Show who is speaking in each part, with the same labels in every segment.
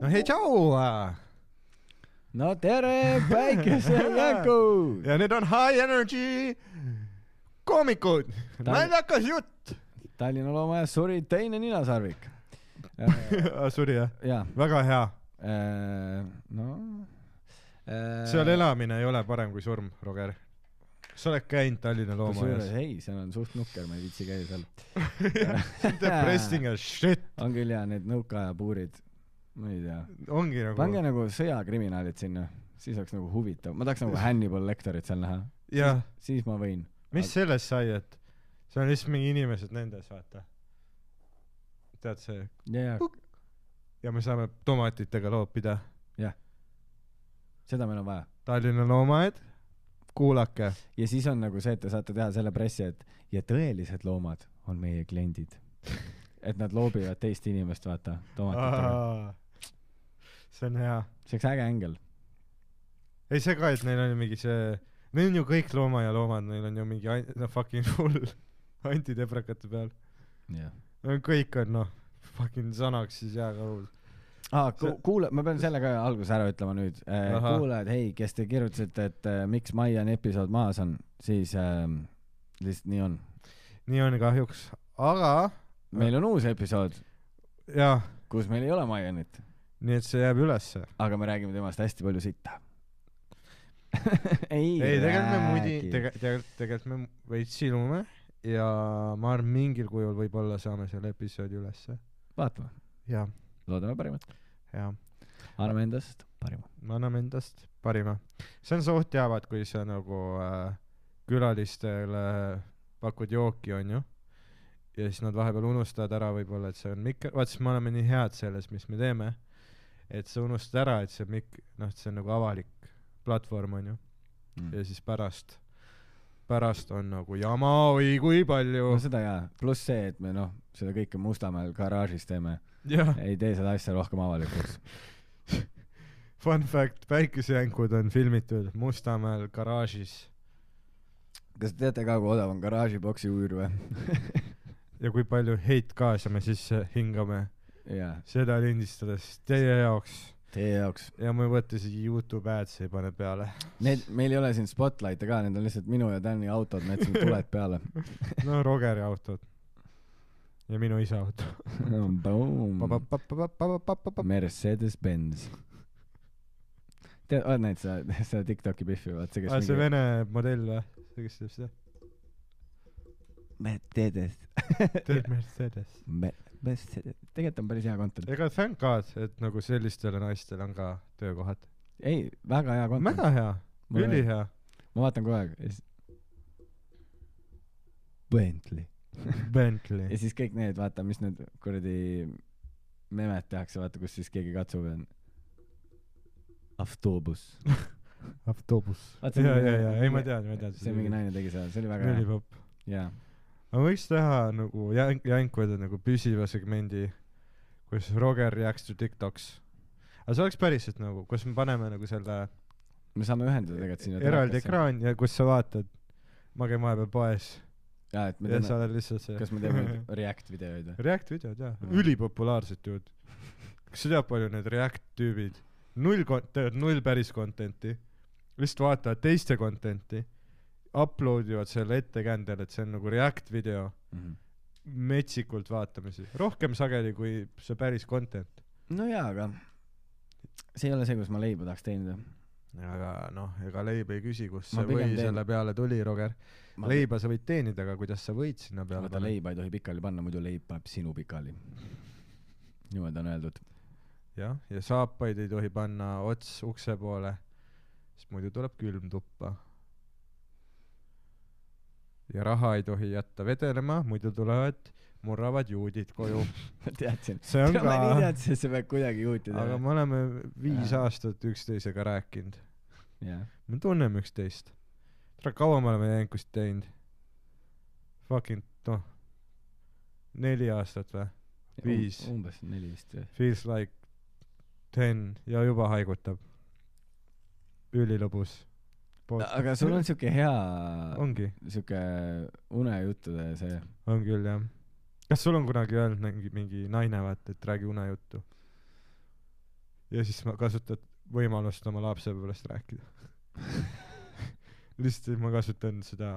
Speaker 1: no hei , ah. tšau .
Speaker 2: no tere päikesejäku
Speaker 1: ja need on High Energy koomikud ,
Speaker 2: Ta-
Speaker 1: naljakas jutt .
Speaker 2: Tallinna Loomaajas suri teine ninasarvik . Äh,
Speaker 1: suri Ah, jah ,
Speaker 2: ja ,
Speaker 1: väga hea ,
Speaker 2: äh, no . äh,
Speaker 1: seal . elamine ei ole parem kui surm , Roger . sa oled käinud Tallinna
Speaker 2: kusjuures
Speaker 1: loomaaias .
Speaker 2: ei , seal on suht nukker , ma ei viitsi käia seal .
Speaker 1: Depressing as shit ,
Speaker 2: on küll ja need nõukaaja puurid , ma ei tea ,
Speaker 1: ongi
Speaker 2: pange
Speaker 1: nagu .
Speaker 2: nagu sõjakriminaalid sinna , siis oleks nagu huvitav , ma tahaks nagu Hannibal Lecterit seal näha ,
Speaker 1: jah ,
Speaker 2: siis ma võin .
Speaker 1: mis sellest sai , et see on lihtsalt mingi inimesed nendes , vaata . tead see ,
Speaker 2: ja , ja
Speaker 1: ja me saame tomatitega loopida .
Speaker 2: seda meil on vaja .
Speaker 1: Tallinna loomaaed , kuulake .
Speaker 2: ja siis on nagu see , et te saate teha selle pressi , et ja tõelised loomad on meie kliendid . et nad loobivad teist inimest , vaata , tomatitega .
Speaker 1: see on hea .
Speaker 2: see oleks äge ängel .
Speaker 1: ei see ka , et neil on ju mingi see , neil on ju kõik loomaaia loomad , neil on ju mingi an- no fucking hull antidebrakate peal .
Speaker 2: jah .
Speaker 1: kõik on noh , fucking sanaks siis jääkarud .
Speaker 2: aa ,
Speaker 1: See-
Speaker 2: kuule , ma pean selle ka alguses ära ütlema nüüd .
Speaker 1: Ahah.
Speaker 2: kuulajad , hei , kes te kirjutasite , et eh, miks Maian episood maas on , siis ehm, lihtsalt nii on .
Speaker 1: nii on kahjuks , aga
Speaker 2: meil on uus episood ,
Speaker 1: jah ,
Speaker 2: kus meil ei ole Maianit ,
Speaker 1: nii et see jääb ülesse .
Speaker 2: aga me räägime temast hästi palju sitta . ei,
Speaker 1: ei , tegelikult me muidu ,
Speaker 2: räägi.
Speaker 1: tegelikult , tegelikult me veits silume ja ma arvan , mingil kujul võib-olla saame selle episoodi ülesse .
Speaker 2: vaatame ,
Speaker 1: ja ,
Speaker 2: loodame parimat ,
Speaker 1: ja
Speaker 2: anname endast parima .
Speaker 1: me anname endast parima . see on suht jäävad , kui sa nagu äh, külalistele pakud jooki , onju . ja siis nad vahepeal unustavad ära võib-olla , et see on mikro , vaat siis me oleme nii head selles , mis me teeme . et sa unustad ära , et see mik- , noh , see on nagu avalik platvorm , onju . ja siis pärast , pärast on nagu jama , oi kui palju
Speaker 2: no . seda jaa , pluss see , et me noh , seda kõike Mustamäel garaažis teeme ,
Speaker 1: jah ,
Speaker 2: ei tee seda asja rohkem avalikuks .
Speaker 1: fun fact , päikesejänkud on filmitud Mustamäel garaažis
Speaker 2: kas te teate ka , kui odav on garaažiboksi üür või ?
Speaker 1: ja kui palju heit kaasa me sisse hingame ,
Speaker 2: jaa ,
Speaker 1: seda lindistades teie jaoks
Speaker 2: teie jaoks .
Speaker 1: ja ma ei võta isegi Youtube ads ei pane peale .
Speaker 2: Need , meil ei ole siin spotlight'e ka , need on lihtsalt minu ja Tänni autod , me jätsime tuled peale .
Speaker 1: no Rogeri autod ja minu isa auto . Mm.
Speaker 2: Mercedes-Benz . tead , oled näinud seda , seda Tiktoki pihvi , vaat see ,
Speaker 1: aa ,
Speaker 2: kes
Speaker 1: Ah, see vene modell või ? see , kes teeb seda ?
Speaker 2: Mercedes .
Speaker 1: teeb Mercedes .
Speaker 2: Mercedes , tegelikult on päris hea content .
Speaker 1: ega thank god , et nagu sellistele naistele on ka töökohad .
Speaker 2: ei , väga hea content .
Speaker 1: väga hea ,
Speaker 2: Mulle
Speaker 1: ülihea .
Speaker 2: ma vaatan kogu aeg ja siis . Bentley . ja
Speaker 1: Bentley .
Speaker 2: siis kõik need , vaata , mis need kuradi memed tehakse , vaata , kus siis keegi katsub ja on . Aftobus .
Speaker 1: autobus .
Speaker 2: Vaat see on
Speaker 1: ja ,
Speaker 2: mingi-
Speaker 1: ja , ja , ei ma tean , ma tean .
Speaker 2: see mingi naine tegi seda , see oli väga hea .
Speaker 1: ülipopp .
Speaker 2: jaa .
Speaker 1: ma võiks teha nagu jänk- , jänkude nagu püsiva segmendi , kus Roger reacts to Tiktoks . aga see oleks päriselt nagu , kus me paneme nagu selle
Speaker 2: me saame ühendada tegelikult sinna .
Speaker 1: eraldi . ekraan ja kus sa vaatad , ma käin vahepeal poes
Speaker 2: jaa , et me
Speaker 1: ja sa
Speaker 2: teeme ,
Speaker 1: oled lihtsalt see .
Speaker 2: kas me teeme nüüd React videoid või ?
Speaker 1: React videod jah
Speaker 2: Mhm.
Speaker 1: mm. , ülipopulaarsed tüüd . kas sa tead , palju need React tüübid , null kont- , teevad null päris content'i , lihtsalt vaatavad teiste content'i , upload ivad selle ettekäändel , et see on nagu React video
Speaker 2: Mhm.
Speaker 1: metsikult vaatamisi , rohkem sageli kui see päris content .
Speaker 2: no jaa , aga see ei ole see , kus ma leiba tahaks teenida .
Speaker 1: aga noh , ega leib ei küsi , kust
Speaker 2: Ma
Speaker 1: see või
Speaker 2: pigem
Speaker 1: teen...
Speaker 2: teen-
Speaker 1: selle peale tuli , Roger . leiba sa võid teenida , aga kuidas sa võid sinna peale
Speaker 2: vaata ,
Speaker 1: panna ?
Speaker 2: leiba ei tohi pikali panna , muidu leib paneb sinu pikali . niimoodi on öeldud .
Speaker 1: jah , ja saapaid ei tohi panna ots ukse poole , sest muidu tuleb külm tuppa . ja raha ei tohi jätta vedelema , muidu tulevad murravad juudid koju .
Speaker 2: ma teadsin .
Speaker 1: see on
Speaker 2: ma nii
Speaker 1: ka ,
Speaker 2: teadsin , et sa pead kuidagi juutida .
Speaker 1: aga me oleme viis
Speaker 2: Jaa.
Speaker 1: aastat üksteisega rääkinud ,
Speaker 2: jah ,
Speaker 1: me tunneme üksteist . tule kaua me oleme jänkust teinud ? Fucking noh , neli aastat või ? Viis.
Speaker 2: Um-, umbes neli vist või ?
Speaker 1: Feels like ten ja juba haigutab . ülilõbus .
Speaker 2: aga sul on siuke hea ,
Speaker 1: ongi ,
Speaker 2: siuke unejuttude see ,
Speaker 1: on küll jah . kas sul on kunagi öelnud mingi, mingi naine vaata , et räägi unejuttu ? ja siis ma kasutad võimalust oma lapsepõlvest rääkida . lihtsalt ma kasutan seda ,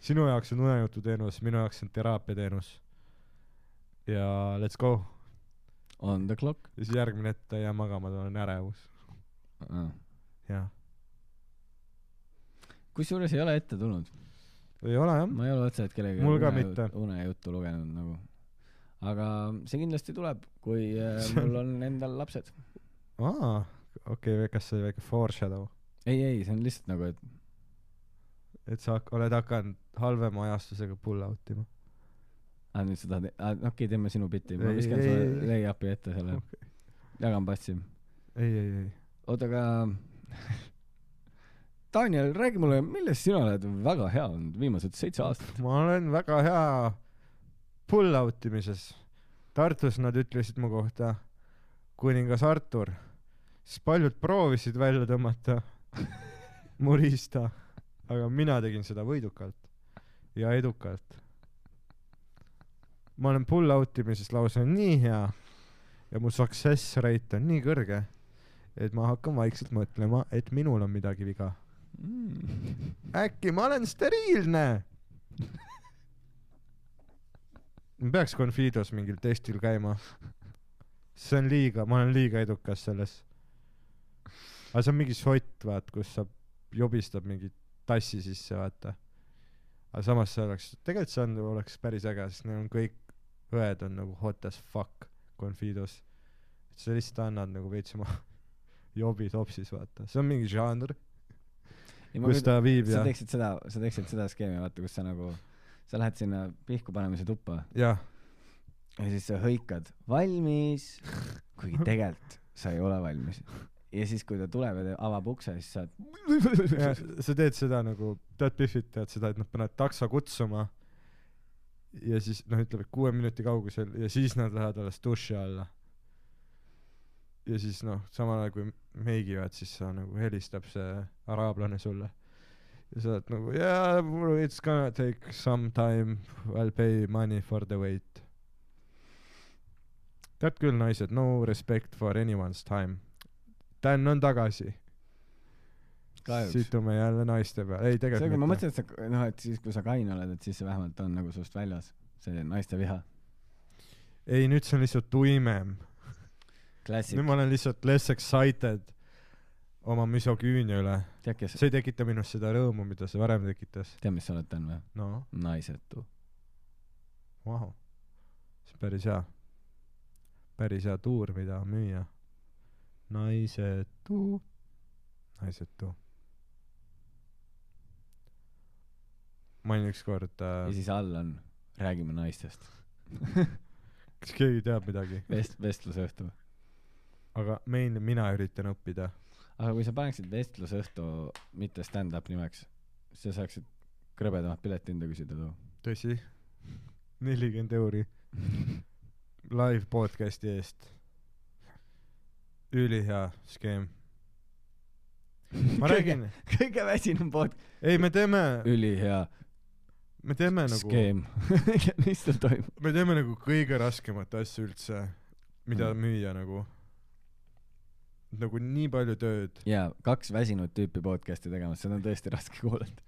Speaker 1: sinu jaoks on unejututeenus , minu jaoks on teraapiateenus . ja let's go .
Speaker 2: on the clock
Speaker 1: ja siis järgmine hetk ta ei jää magama , tal on ärevus .
Speaker 2: ah. .
Speaker 1: jah .
Speaker 2: kusjuures ei ole ette tulnud .
Speaker 1: ei ole jah ?
Speaker 2: ma ei ole otseselt kellegagi
Speaker 1: Mul ka
Speaker 2: une-
Speaker 1: mitte.
Speaker 2: unejuttu lugenud nagu . aga see kindlasti tuleb , kui äh, mul on endal lapsed .
Speaker 1: aa , okei okay, , kas see oli väike foreshadow ?
Speaker 2: ei , ei , see on lihtsalt nagu , et
Speaker 1: et sa hak- oled hakanud halvema ajastusega pull out ima ?
Speaker 2: aa ah, nüüd sa tahad , aa okei okay, , teeme sinu bitti , ma
Speaker 1: Ei,
Speaker 2: viskan
Speaker 1: ei, ei,
Speaker 2: sulle
Speaker 1: ei.
Speaker 2: lay-up'i ette selle okay. . jagan passi .
Speaker 1: ei , ei , ei .
Speaker 2: oota , aga Daniel , räägi mulle , milles sina oled väga hea olnud viimased seitse aastat ?
Speaker 1: ma olen väga hea pull out imises . Tartus nad ütlesid mu kohta kuningas Artur , siis paljud proovisid välja tõmmata mu riista , aga mina tegin seda võidukalt ja edukalt . ma olen pull out imises lausa nii hea ja mu success rate on nii kõrge , et ma hakkan vaikselt mõtlema , et minul on midagi viga . Mm. äkki ma olen steriilne ? ma peaks Confidos mingil testil käima . see on liiga , ma olen liiga edukas selles . aga see on mingi sott , vaat , kus sa jobistad mingi tassi sisse , vaata . aga samas see oleks , tegelikult see on , oleks päris äge , sest neil on kõik õed on nagu hot as fuck Confidos . sa lihtsalt annad nagu veits oma jobi topsis , vaata , see on mingi žanr , kus ta viib
Speaker 2: sa
Speaker 1: ja ,
Speaker 2: teeksid seda , sa teeksid seda skeemi , vaata , kus sa nagu , sa lähed sinna pihku panemise tuppa
Speaker 1: jah
Speaker 2: ja siis sa hõikad valmis , kuigi tegelikult sa ei ole valmis . ja siis , kui ta tuleb ja ta avab ukse , siis sa
Speaker 1: ja
Speaker 2: oled
Speaker 1: sa teed seda nagu , tead Biffit , tead seda , et nad panevad takso kutsuma ja siis noh , ütleme kuue minuti kaugusel ja siis nad lähevad alles duši alla . ja siis noh , samal ajal kui meigivad , siis sa nagu helistab see araablane sulle . ja sa oled nagu yeah , it's gonna take some time , I will pay money for the wait . tead küll , naised , no respect for anyone's time . Dan on tagasi .
Speaker 2: kahjuks .
Speaker 1: situme jälle naiste peale , ei
Speaker 2: seega ma
Speaker 1: tegelikult mitte .
Speaker 2: mõtlesin , et sa , noh , et siis , kui sa kain oled , et siis see vähemalt on nagu sinust väljas , see naiste viha .
Speaker 1: ei , nüüd see on lihtsalt tuimem . nüüd
Speaker 2: klassik .
Speaker 1: ma olen lihtsalt less excited oma misoküünia üle .
Speaker 2: tead , kes ,
Speaker 1: see ei tekita minus seda rõõmu , mida see varem tekitas .
Speaker 2: tead , mis sa oled täna või ?
Speaker 1: noh ,
Speaker 2: naisetu .
Speaker 1: vau . see on päris hea , päris hea tuur , mida müüa . naisetu , naisetu . ma olin ükskord
Speaker 2: ja
Speaker 1: äh, ,
Speaker 2: siis all on , räägime naistest .
Speaker 1: kas keegi teab midagi ,
Speaker 2: vest- , vestlusõhtu .
Speaker 1: aga meil , mina üritan õppida .
Speaker 2: aga kui sa paneksid vestlusõhtu mitte stand-up nimeks , siis sa saaksid krõbedamat piletihinda küsida too .
Speaker 1: tõsi , nelikümmend euri live podcast'i eest . ülihea skeem . ma räägin ,
Speaker 2: kõige väsinum pood- .
Speaker 1: ei , me teeme ,
Speaker 2: ülihea
Speaker 1: me teeme
Speaker 2: nagu...
Speaker 1: nagu ,
Speaker 2: skeem . mis seal toimub ?
Speaker 1: me teeme nagu kõige raskemat asja üldse , mida müüa nagu . nagu nii palju tööd .
Speaker 2: jaa , kaks väsinud tüüpi podcast'i tegemas , seda on tõesti raske kuulata .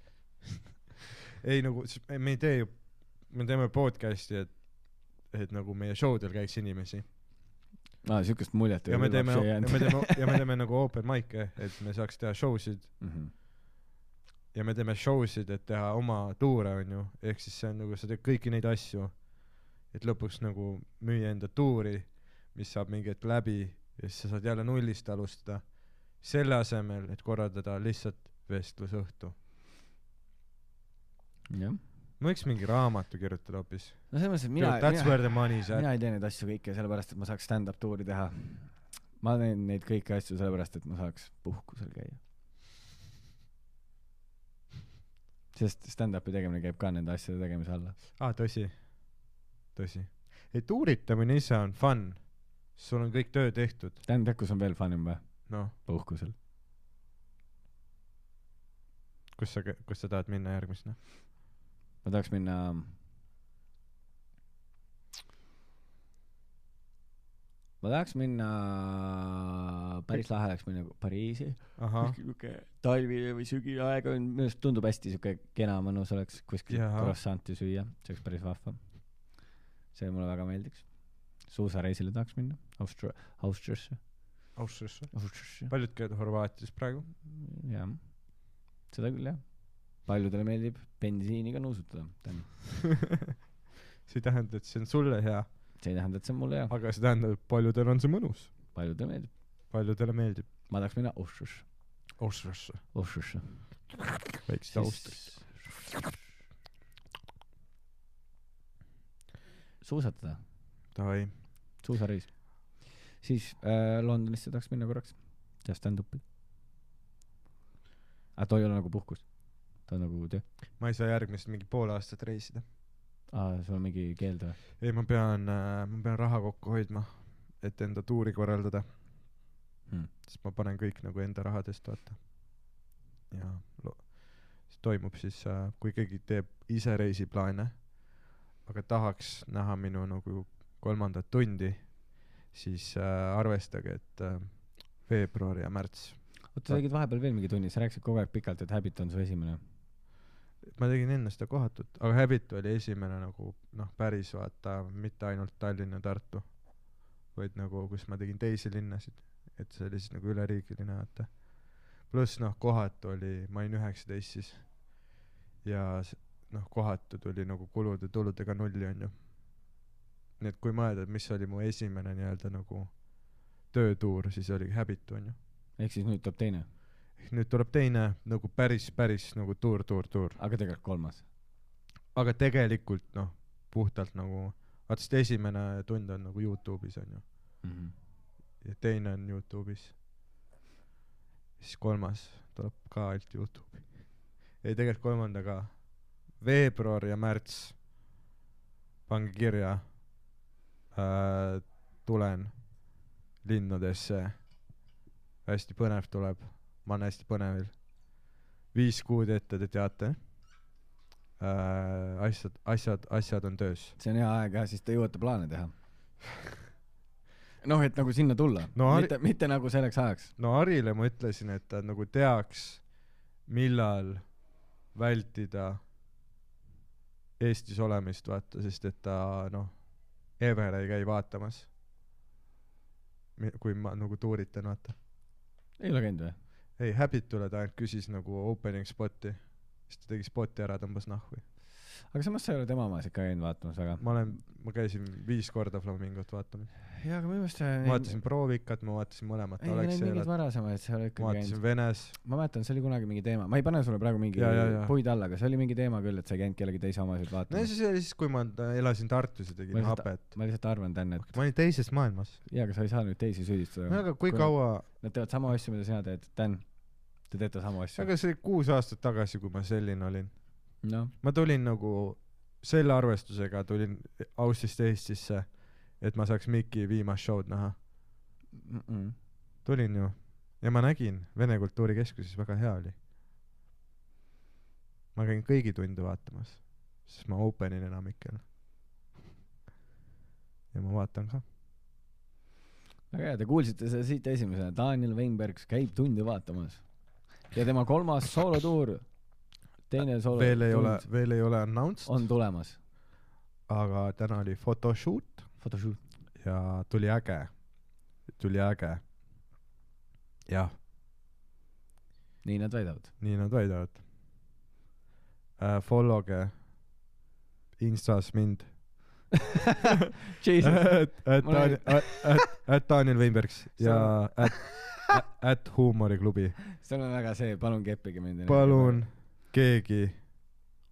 Speaker 1: ei nagu , me ei tee ju , me teeme podcast'i , et , et nagu meie show del käiks inimesi .
Speaker 2: aa , Ah, siukest muljet
Speaker 1: ja me teeme , ja me teeme , ja me teeme nagu open mic'e , et me saaks teha show sid
Speaker 2: teeme .
Speaker 1: ja me teeme show sid , et teha oma tuure , onju , ehk siis see on nagu , sa teed kõiki neid asju , et lõpuks nagu müüa enda tuuri , mis saab mingi hetk läbi ja siis sa saad jälle nullist alustada , selle asemel , et korraldada lihtsalt vestlusõhtu .
Speaker 2: jah .
Speaker 1: ma võiks mingi raamatu kirjutada hoopis .
Speaker 2: no selles mõttes , et mina ,
Speaker 1: That's
Speaker 2: mina ,
Speaker 1: where the money is at .
Speaker 2: mina ei tee neid asju kõike sellepärast , et ma saaks stand-up tuuri teha . ma teen neid kõiki asju sellepärast , et ma saaks puhkusel käia . sest stand-up'i tegemine käib ka nende asjade tegemise alla .
Speaker 1: aa , Ah, tõsi . tõsi . et uuritamine ise on fun . sul on kõik töö tehtud ,
Speaker 2: stand-up , kus on veel funim või ?
Speaker 1: noh ,
Speaker 2: puhkusel .
Speaker 1: kus sa , kus sa tahad minna järgmisena ?
Speaker 2: ma tahaks minna ma tahaks minna , päris lahe oleks minna Pariisi .
Speaker 1: ahah ,
Speaker 2: sihuke talvine või sügine aeg on , minu arust tundub hästi sihuke kena , mõnus oleks kuskil
Speaker 1: Jaa.
Speaker 2: croissant'i süüa , see oleks päris vahva . see mulle väga meeldiks . suusareisile tahaks minna , Austria , Austriasse ,
Speaker 1: Austriasse .
Speaker 2: Austriasse ,
Speaker 1: paljud käivad Horvaatias praegu .
Speaker 2: jah . seda küll jah . paljudele meeldib bensiiniga nuusutada ,
Speaker 1: see ei tähenda , et see on sulle hea ,
Speaker 2: see ei tähenda , et see on mulle hea ,
Speaker 1: aga see tähendab , et paljudel on see mõnus ,
Speaker 2: paljudele meeldib .
Speaker 1: paljudele meeldib .
Speaker 2: ma tahaks minna Austriasse ,
Speaker 1: Austriasse .
Speaker 2: Austriasse .
Speaker 1: väikest Austriat .
Speaker 2: suusatada ,
Speaker 1: Davai .
Speaker 2: suusareis . siis äh, Londonisse tahaks minna korraks , teha stand-up'i . aga too ei ole nagu puhkus , ta on nagu töö .
Speaker 1: ma ei saa järgmist mingi pool aastat reisida .
Speaker 2: aa , Ah, sul on mingi keeld või ?
Speaker 1: ei , ma pean , ma pean raha kokku hoidma , et enda tuuri korraldada
Speaker 2: Hmm.
Speaker 1: hmm. . sest ma panen kõik nagu enda rahadest , vaata . ja lo- , see toimub siis , kui keegi teeb ise reisiplaane , aga tahaks näha minu nagu kolmandat tundi , siis äh, arvestage , et äh, veebruar ja märts .
Speaker 2: oota ,
Speaker 1: Ah.
Speaker 2: sa tegid vahepeal veel mingi tunni , sa rääkisid kogu aeg pikalt , et Habit on su esimene .
Speaker 1: ma tegin enne seda kohatut , aga Habit oli esimene nagu noh , päris vaata , mitte ainult Tallinn ja Tartu , vaid nagu , kus ma tegin teisi linnasid , et see oli siis nagu üleriigiline , vaata . pluss noh , kohatu oli , ma olin üheksateist siis ja s- noh , kohatu tuli nagu kulude-tuludega nulli , onju . nii et kui mõelda , et mis oli mu esimene nii-öelda nagu töötuur , siis oli Habit , onju .
Speaker 2: ehk siis nüüd tuleb teine ,
Speaker 1: nüüd tuleb teine nagu päris , päris nagu tuur , tuur , tuur .
Speaker 2: aga tegelikult kolmas .
Speaker 1: aga tegelikult noh , puhtalt nagu , vaata sest esimene tund on nagu Youtube'is onju Mhm. ja teine on Youtube'is . siis kolmas tuleb ka ainult Youtube'i . ei tegelikult kolmanda ka . veebruar ja märts . pange kirja äh, . tulen linnadesse . hästi põnev tuleb , ma olen hästi põnevil . viis kuud ette te teate äh, . asjad , asjad , asjad on töös .
Speaker 2: see on hea aeg jah , siis te jõuate plaane teha . noh , et nagu sinna tulla
Speaker 1: No
Speaker 2: no, ,
Speaker 1: Har-
Speaker 2: mitte , mitte nagu selleks ajaks .
Speaker 1: no Harile ma ütlesin , et ta nagu teaks , millal vältida Eestis olemist , vaata , sest et ta noh , Evere ei käi vaatamas . kui ma nagu tuuritan , vaata .
Speaker 2: ei ole käinud või ?
Speaker 1: ei , Habitule ta ainult küsis nagu opening spot'i , siis ta tegi spot'i ära , tõmbas nahku .
Speaker 2: aga samas sa ei ole tema omas ikka käinud vaatamas väga .
Speaker 1: ma olen , ma käisin viis korda Flamingot vaatamas .
Speaker 2: jaa , aga minu meelest sa
Speaker 1: ma vaatasin Proovikat , ma vaatasin mõlemat
Speaker 2: ei , ma näinud mingeid
Speaker 1: Alexelat ,
Speaker 2: varasemaid , sa ei ole
Speaker 1: ma
Speaker 2: ikkagi
Speaker 1: vaatasin
Speaker 2: käinud .
Speaker 1: Venes .
Speaker 2: ma mäletan , see oli kunagi mingi teema , ma ei pane sulle praegu mingi
Speaker 1: Jaa, jaa, jaa.
Speaker 2: puid alla , aga see oli mingi teema küll , et sa ei käinud kellegi teise omasid
Speaker 1: no ja
Speaker 2: vaatamas .
Speaker 1: siis , siis kui ma elasin Tartus ja
Speaker 2: Ma
Speaker 1: tegin
Speaker 2: lihtsalt-
Speaker 1: hapet .
Speaker 2: ma lihtsalt arvan , Dan , et
Speaker 1: ma olin teises maailmas .
Speaker 2: jaa , aga sa ei saa nüüd teisi süüdistada .
Speaker 1: no aga kui kaua ,
Speaker 2: Nad teevad sama asju , mida sina teed , Dan . Te teete sama asju .
Speaker 1: aga see oli kuus aastat tagasi , kui ma selline olin .
Speaker 2: noh ,
Speaker 1: ma tulin nagu selle arvestusega tulin Austrist Eestisse , et ma saaks Miki viimast show'd näha . tulin ju ja ma nägin Vene Kultuurikeskuses , väga hea oli . ma käin kõigi tunde vaatamas , sest ma open in enamikel . ja ma vaatan ka .
Speaker 2: väga hea , te kuulsite seda siit esimesena , Daniel Weinbergs käib tunde vaatamas . ja tema kolmas soolotuur , teine soolo .
Speaker 1: Äh, veel ei ole , veel ei ole announced ,
Speaker 2: on tulemas .
Speaker 1: aga täna oli photoshoot .
Speaker 2: Photoshoot .
Speaker 1: ja tuli äge , tuli äge . jah ,
Speaker 2: nii nad väidavad .
Speaker 1: nii nad väidavad äh, . Follow ge Instas mind .
Speaker 2: Jesus . Ma nägin.
Speaker 1: et Daniel Weinbergs
Speaker 2: See
Speaker 1: ja et , et huumoriklubi .
Speaker 2: seal on väga see , palun keppige mind .
Speaker 1: palun keegi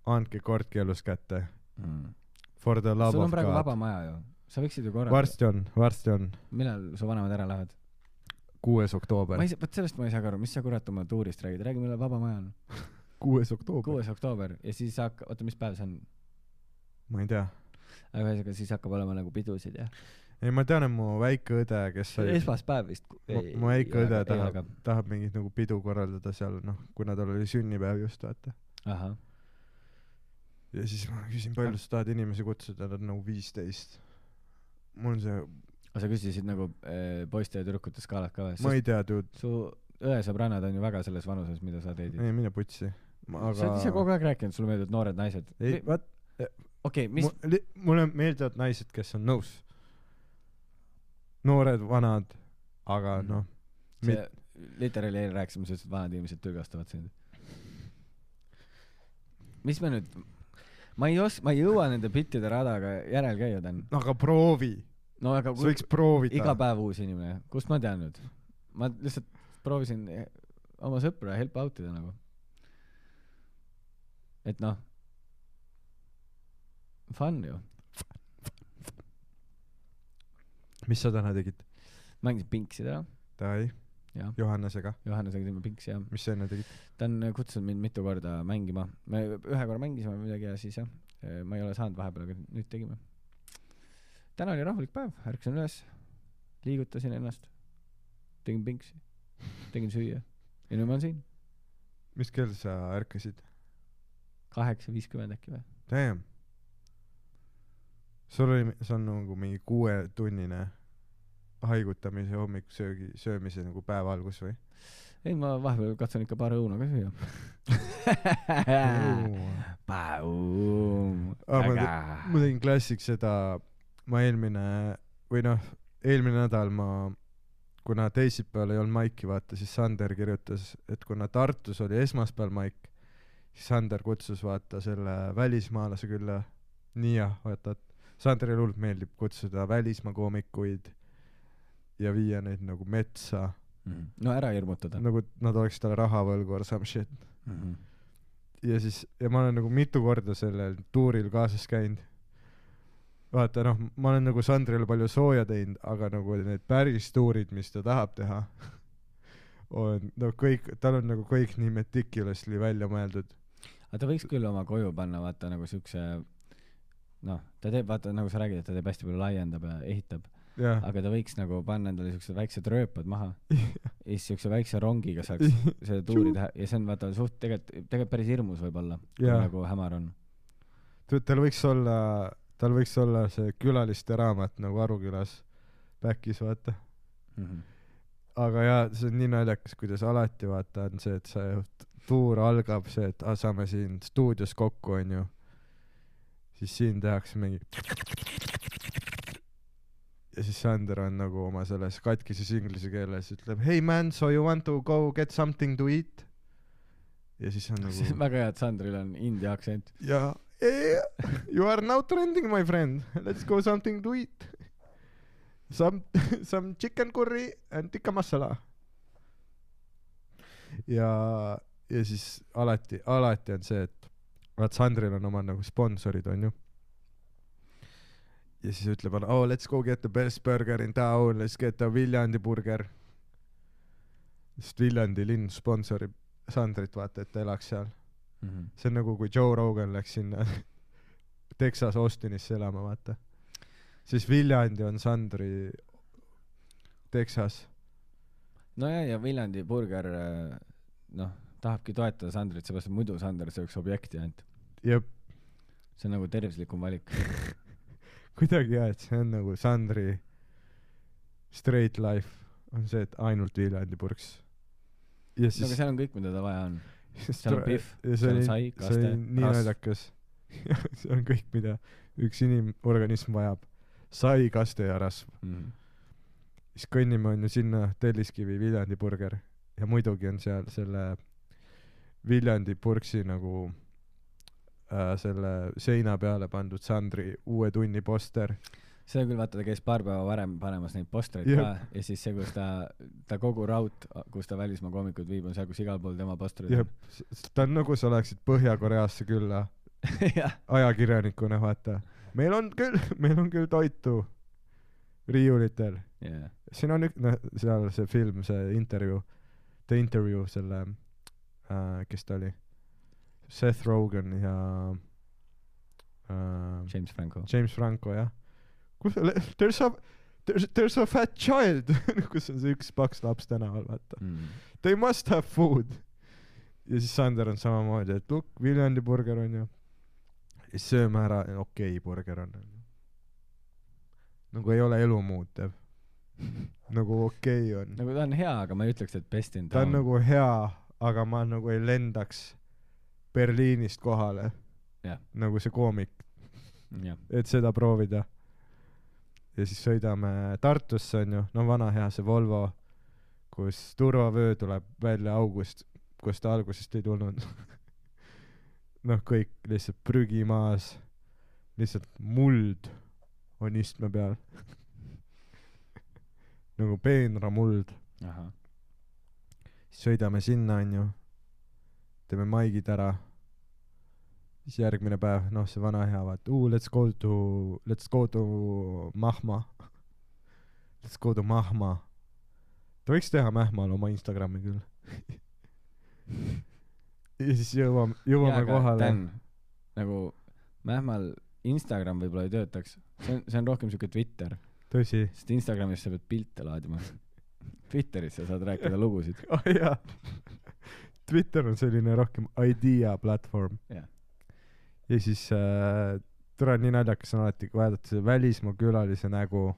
Speaker 1: andke kord keelus kätte .
Speaker 2: mm. .
Speaker 1: For the love
Speaker 2: sul on
Speaker 1: of
Speaker 2: praegu vaba
Speaker 1: God .
Speaker 2: maja ju . sa võiksid ju korra .
Speaker 1: varsti on , varsti on ,
Speaker 2: millal su vanemad ära lähevad ?
Speaker 1: kuues
Speaker 2: ma
Speaker 1: oktoober
Speaker 2: ei . saa , vot sellest ma ei saa ka aru , mis sa kurat oma tuurist räägid , räägi millal vaba maja on .
Speaker 1: kuues oktoober .
Speaker 2: kuues oktoober ja siis hakkab , oota , mis päev see on ?
Speaker 1: ma ei tea .
Speaker 2: aga ühesõnaga , siis hakkab olema nagu pidusid ja .
Speaker 1: ei , ma tean , et mu väike õde , kes oli
Speaker 2: esmaspäev vist .
Speaker 1: mu mu väike õde tahab , tahab mingit nagu pidu korraldada seal noh , kuna tal oli sünnipäev just vaata .
Speaker 2: ahah ,
Speaker 1: ja siis ma küsin , palju sa tahad inimesi kutsuda , nad on nagu viisteist . mul on see
Speaker 2: aga sa küsisid nagu äh, poiste ja tüdrukute skaalat ka
Speaker 1: ma
Speaker 2: või ?
Speaker 1: ei tea , dude .
Speaker 2: su õesõbrannad on ju väga selles vanuses , mida sa teedid .
Speaker 1: ei , mine putsi . aga .
Speaker 2: sa oled ise kogu aeg rääkinud , sulle meeldivad noored naised .
Speaker 1: ei ,
Speaker 2: okei
Speaker 1: vaat ,
Speaker 2: okay, , mis
Speaker 1: mu- , li- mulle meeldivad naised , kes on nõus . noored , vanad , aga
Speaker 2: Mhm.
Speaker 1: noh ,
Speaker 2: see literaali eile rääkisime sellest , et vanad inimesed tülgastavad sind . mis me nüüd , ma ei os- , ma ei jõua nende bittide radaga järel käia , Dan .
Speaker 1: aga proovi ,
Speaker 2: no aga
Speaker 1: sa
Speaker 2: kui,
Speaker 1: võiks proovida .
Speaker 2: iga päev uus inimene , kust ma tean nüüd ? ma lihtsalt proovisin eh, oma sõpra help out ida nagu . et noh , fun ju ,
Speaker 1: mis sa täna tegid ?
Speaker 2: mängisin pinksi täna ,
Speaker 1: Tai ,
Speaker 2: jah ,
Speaker 1: Johannesega ,
Speaker 2: Johannesega tegime pinksi jah .
Speaker 1: mis sa enne tegid ?
Speaker 2: ta on kutsunud mind mitu korda mängima me ühe korra mängisime midagi ja siis jah eh, ma ei ole saanud vahepeal aga nüüd tegime täna oli rahulik päev ärkasin üles liigutasin ennast tegin pingsi tegin süüa ja nüüd ma olen siin
Speaker 1: mis kell sa ärkasid ?
Speaker 2: kaheksa viiskümmend äkki või
Speaker 1: Damn . sul oli , see on nagu mingi kuuetunnine haigutamise hommikusöögi , söömise nagu päeva algus või ?
Speaker 2: ei ma vahepeal katsun ikka paar õuna ka süüa
Speaker 1: ma
Speaker 2: Paum.
Speaker 1: Aa, ma
Speaker 2: Väga.
Speaker 1: tegin klassiks seda , ma eelmine või noh , eelmine nädal ma , kuna teisipäeval ei olnud maiki , vaata , siis Sander kirjutas , et kuna Tartus oli esmaspäeval maik , siis Sander kutsus vaata selle välismaalase külla , Niia , vaata , et Sanderile hullult meeldib kutsuda välismaa koomikuid ja viia neid nagu metsa ,
Speaker 2: Mhm. no ära hirmutada
Speaker 1: nagu nad oleks talle raha võlgu or some shit .
Speaker 2: Mhm.
Speaker 1: ja siis , ja ma olen nagu mitu korda sellel tuuril kaasas käinud . vaata noh , ma olen nagu Sandrile palju sooja teinud , aga nagu need päris tuurid , mis ta tahab teha , on no kõik , tal on nagu kõik nii meticulously välja mõeldud .
Speaker 2: aga ta võiks küll oma koju panna vaata nagu siukse noh ta teeb vaata nagu sa räägid et ta teeb hästi palju laiendab ja ehitab
Speaker 1: jah ,
Speaker 2: aga ta võiks nagu panna endale siuksed väiksed rööpad maha ja siis siukse väikse rongiga saaks seda tuuri teha ja see on vaata suht tegelikult tegelikult päris hirmus võibolla kui
Speaker 1: Jaa.
Speaker 2: nagu hämar on
Speaker 1: tead , tal võiks olla , tal võiks olla see külaliste raamat nagu Arukülas back'is , vaata .
Speaker 2: mm -hmm.
Speaker 1: aga jaa , see on nii naljakas , kuidas alati vaata on see , et see tuur algab see , et ah, saame siin stuudios kokku , onju . siis siin tehakse mingi . ja siis Sander on nagu oma selles katkises inglise keeles ütleb hey man , so you want to go get something to eat . ja siis on
Speaker 2: see on
Speaker 1: nagu
Speaker 2: väga hea et Sandril on india aktsent
Speaker 1: ja yeah, you are now trending my friend , let's go something to eat . Some some chicken curry and tikka masala . ja , ja siis alati , alati on see , et vaat Sandril on oma nagu sponsorid , onju . ja siis ütleb , oh let's go get the best burger in town , let's get the Viljandi burger . sest Viljandi linn sponsorib Sandrit , vaata , et ta elaks seal .
Speaker 2: mm -hmm.
Speaker 1: see on nagu , kui Joe Rogan läks sinna Texas Austinisse elama , vaata . siis Viljandi on Sandri Texas .
Speaker 2: nojah ja Viljandi burger äh, noh tahabki toetada Sandrit seepärast et muidu Sander sööks objekti ainult
Speaker 1: ja
Speaker 2: see on nagu tervislikum valik
Speaker 1: kuidagi jah , et see on nagu Sandri straight life on see , et ainult Viljandi purks . ja
Speaker 2: no aga
Speaker 1: siis .
Speaker 2: seal on kõik mida tal vaja on seal on pihv,
Speaker 1: ja see
Speaker 2: seal on
Speaker 1: oli , see
Speaker 2: sai,
Speaker 1: oli
Speaker 2: kaste,
Speaker 1: nii
Speaker 2: rasv.
Speaker 1: naljakas . see on kõik , mida üks inimorganism vajab . sai , kaste ja rasv .
Speaker 2: mm -hmm.
Speaker 1: siis kõnnime onju sinna Telliskivi Viljandi burger ja muidugi on seal selle Viljandi purksi nagu äh, selle seina peale pandud Sandri uue tunni poster
Speaker 2: seda küll , vaata , ta käis paar päeva varem panemas neid postreid
Speaker 1: Jep.
Speaker 2: ka ja siis see , kus ta , ta kogu raud , kus ta välismaa koomikuid viib , on seal , kus igal pool tema postreid
Speaker 1: ja s- s- ta on nagu sa oleksid Põhja-Koreasse külla
Speaker 2: on . jah ,
Speaker 1: ajakirjanikuna vaata meil on küll meil on küll toitu riiulitel
Speaker 2: jah .
Speaker 1: siin on ük- noh seal see film see intervjuu The Interview selle äh, kes ta oli Seth Rogen ja äh,
Speaker 2: James Franco .
Speaker 1: James Franco jah kus see le- There's a There's, there's a fat child kus on see üks paks laps tänaval vaata
Speaker 2: Mm.
Speaker 1: They must have food ja siis Sander on samamoodi et look Viljandi burger onju ja siis sööme ära ja okei okay, burger on onju nagu ei ole elu muutev nagu okei okay on
Speaker 2: nagu ta on hea , aga ma ei ütleks , et best in
Speaker 1: ta on
Speaker 2: town .
Speaker 1: nagu hea aga ma nagu ei lendaks Berliinist kohale
Speaker 2: Jah.
Speaker 1: nagu see koomik
Speaker 2: jah ,
Speaker 1: et seda proovida ja siis sõidame Tartusse onju no vana hea see Volvo kus turvavöö tuleb välja august kus ta algusest ei tulnud noh kõik lihtsalt prügi maas lihtsalt muld on istme peal nagu peenramuld
Speaker 2: ahah ,
Speaker 1: siis sõidame sinna onju teeme maigid ära siis järgmine päev noh see vana hea vaata uu let's go to let's go to Mahma let's go to Mahma ta võiks teha Mähmal oma Instagrami küll ja siis jõuame jõuame kohale
Speaker 2: Dan , nagu Mähmal Instagram võib-olla ei töötaks , see on , see on rohkem siuke Twitter ,
Speaker 1: tõsi
Speaker 2: sest Instagramis sa pead pilte laadima . Twitteris sa saad rääkida lugusid .
Speaker 1: oh jaa Twitter on selline rohkem idea platvorm
Speaker 2: Jah.
Speaker 1: ja siis äh, tore nii naljakas on alati kui vaadata see välismaa külalise nägu